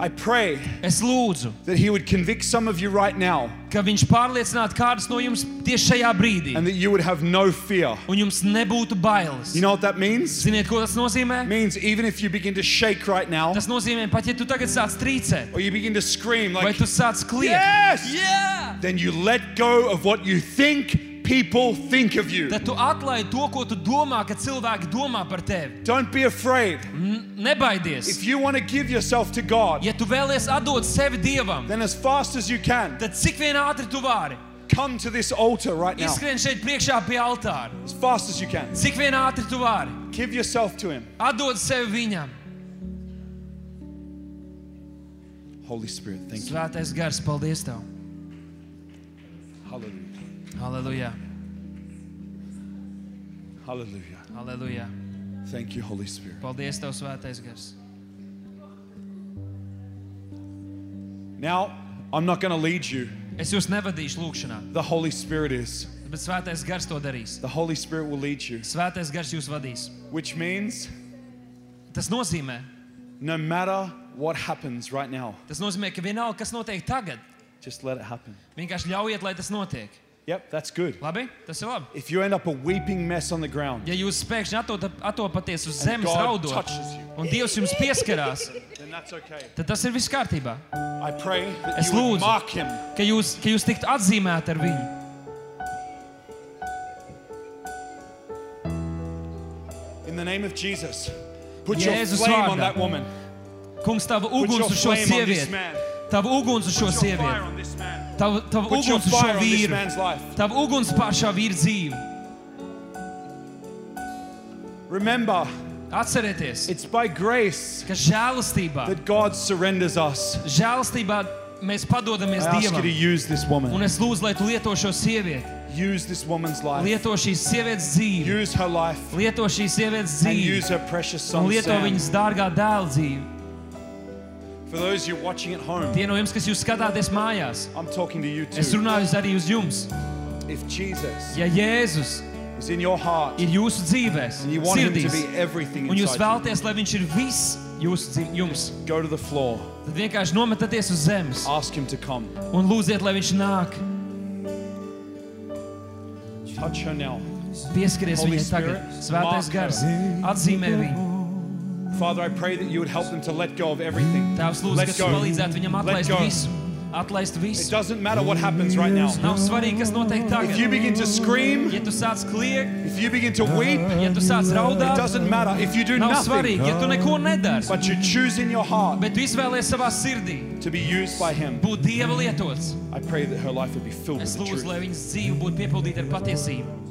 Speaker 1: I pray
Speaker 2: Es lūdzu,
Speaker 1: that He would convict some of you right now
Speaker 2: ka viņš pārliecinātu kādus no jums tieši šajā brīdī,
Speaker 1: and that you would have no fear.
Speaker 2: un jums nebūtu bailes.
Speaker 1: You know what that means?
Speaker 2: Ziniet, ko tas nozīmē?
Speaker 1: It means even if you begin to shake right now
Speaker 2: Tas nozīmē, pat ja tu tagad sāc trīcēt,
Speaker 1: or you begin to scream
Speaker 2: vai
Speaker 1: like,
Speaker 2: tu sāc kliegt,
Speaker 1: Yes!
Speaker 2: yeah!
Speaker 1: Then you let go of what you think people think of you.
Speaker 2: tad tu atlaidi to, ko tu domā, ka cilvēki domā par tevi.
Speaker 1: Don't be afraid.
Speaker 2: N nebaidies!
Speaker 1: If you want to give yourself to God,
Speaker 2: Ja tu vēlies atdot sevi dievam,
Speaker 1: then as fast as you can,
Speaker 2: tad cik vien ātri tu vari?
Speaker 1: come to this altar right now.
Speaker 2: Izskrien šeit priekšā pie altāra.
Speaker 1: As fast as you can.
Speaker 2: Cik vien ātri tu vari?
Speaker 1: Give yourself to Him.
Speaker 2: Atdod sevi viņam.
Speaker 1: Holy Spirit, thank you.
Speaker 2: Svētais gars, paldies tev!
Speaker 1: Hallelujah.
Speaker 2: Halleluja!
Speaker 1: Hallelujah.
Speaker 2: Halleluja!
Speaker 1: Thank you, Holy Spirit.
Speaker 2: Paldies tev, svētais gars!
Speaker 1: Now, I'm not going to lead you.
Speaker 2: Es jūs nevadīšu lūgšanā,
Speaker 1: The Holy Spirit is.
Speaker 2: bet svētais gars to darīs.
Speaker 1: The Holy Spirit will lead you,
Speaker 2: Svētais gars jūs vadīs.
Speaker 1: which means
Speaker 2: Tas nozīmē,
Speaker 1: no matter what happens right now,
Speaker 2: tas nozīmē ka vienalga, kas notiek tagad,
Speaker 1: just let it happen.
Speaker 2: vienkārši ļaujiet, lai tas notiek.
Speaker 1: Yep, that's good.
Speaker 2: Labi, tas ir labi.
Speaker 1: If you end up a weeping mess on the ground,
Speaker 2: Ja jūs pēkšņi atop- atopaties uz
Speaker 1: and
Speaker 2: zemes,
Speaker 1: God
Speaker 2: raudot,
Speaker 1: touches you,
Speaker 2: un Dievs jums pieskarās,
Speaker 1: then that's okay.
Speaker 2: tad tas ir viss kārtībā.
Speaker 1: I pray that
Speaker 2: Es
Speaker 1: you would
Speaker 2: lūdzu.
Speaker 1: mark him.
Speaker 2: Ka jūs, ka jūs tiktu atzīmēti ar viņu.
Speaker 1: In the name of Jesus, put
Speaker 2: Jēzus
Speaker 1: your flame on
Speaker 2: vārdā.
Speaker 1: that woman.
Speaker 2: Kungs, tava
Speaker 1: Put
Speaker 2: uguns
Speaker 1: your
Speaker 2: uz šo
Speaker 1: flame on this
Speaker 2: sievieti,
Speaker 1: man.
Speaker 2: tava uguns uz
Speaker 1: Put
Speaker 2: šo
Speaker 1: your fire
Speaker 2: sievieti,
Speaker 1: on this man.
Speaker 2: tava, tava
Speaker 1: Put your
Speaker 2: uguns uz
Speaker 1: fire
Speaker 2: šo
Speaker 1: on this
Speaker 2: vīru,
Speaker 1: man's life.
Speaker 2: tava uguns pār šā vīra dzīvi.
Speaker 1: Remember,
Speaker 2: Atcerieties,
Speaker 1: it's by grace
Speaker 2: ka žēlastībā,
Speaker 1: that God surrenders us.
Speaker 2: žēlastībā mēs padodamies
Speaker 1: I ask you to
Speaker 2: Dievam.
Speaker 1: use this
Speaker 2: Un
Speaker 1: woman.
Speaker 2: es lūdzu, lai tu lieto šo sievieti,
Speaker 1: Use this woman's life.
Speaker 2: lieto šīs sievietes dzīvi,
Speaker 1: Use her life.
Speaker 2: lieto šīs sievietes
Speaker 1: And
Speaker 2: dzīvi,
Speaker 1: use her precious
Speaker 2: un
Speaker 1: son,
Speaker 2: lieto
Speaker 1: Sam.
Speaker 2: viņas dārgā dēla dzīvi.
Speaker 1: For those you watching at home,
Speaker 2: Tie no jums, kas jūs skatāties mājās,
Speaker 1: I'm talking to you too.
Speaker 2: es runāju uz- arī uz jums.
Speaker 1: If Jesus
Speaker 2: Ja Jēzus
Speaker 1: is in your heart
Speaker 2: ir jūsu dzīvēs,
Speaker 1: and you want him to be
Speaker 2: sirdīs,
Speaker 1: everything
Speaker 2: un jūs
Speaker 1: inside
Speaker 2: vēlaties, lai viņš ir viss jūsu dzīv- jums,
Speaker 1: you, go to the floor.
Speaker 2: tad vienkārši nometieties uz zemes
Speaker 1: Ask him to come.
Speaker 2: un lūdziet, lai viņš nāk.
Speaker 1: Touch her now.
Speaker 2: Pieskaries
Speaker 1: Holy
Speaker 2: viņai tagad.
Speaker 1: Spirit, mark
Speaker 2: Svētais
Speaker 1: her.
Speaker 2: gars atzīmē viņu.
Speaker 1: Father, I pray that you would help them to let go of everything.
Speaker 2: Tēvs lūdzu,
Speaker 1: Let
Speaker 2: ka tu
Speaker 1: go.
Speaker 2: palīdzētu viņam
Speaker 1: Let
Speaker 2: atlaist
Speaker 1: go.
Speaker 2: visu. Atlaist
Speaker 1: It
Speaker 2: visu.
Speaker 1: doesn't matter what happens right now.
Speaker 2: Nav svarīgi, kas notiek
Speaker 1: If you
Speaker 2: tagad.
Speaker 1: begin to scream,
Speaker 2: Ja tu sāc kliegt,
Speaker 1: if you begin to weep, it
Speaker 2: ja tu sāc raudāt,
Speaker 1: doesn't matter. If you do
Speaker 2: nav
Speaker 1: nothing,
Speaker 2: svarīgi, ja tu neko nedari.
Speaker 1: but you choose in your heart
Speaker 2: Bet tu izvēlies savā sirdī
Speaker 1: to be used by him,
Speaker 2: būt dieva lietots.
Speaker 1: I pray that her life would be filled
Speaker 2: Es
Speaker 1: with the
Speaker 2: lūdzu,
Speaker 1: truth.
Speaker 2: lai viņas dzīve būtu piepildīta ar patiesību.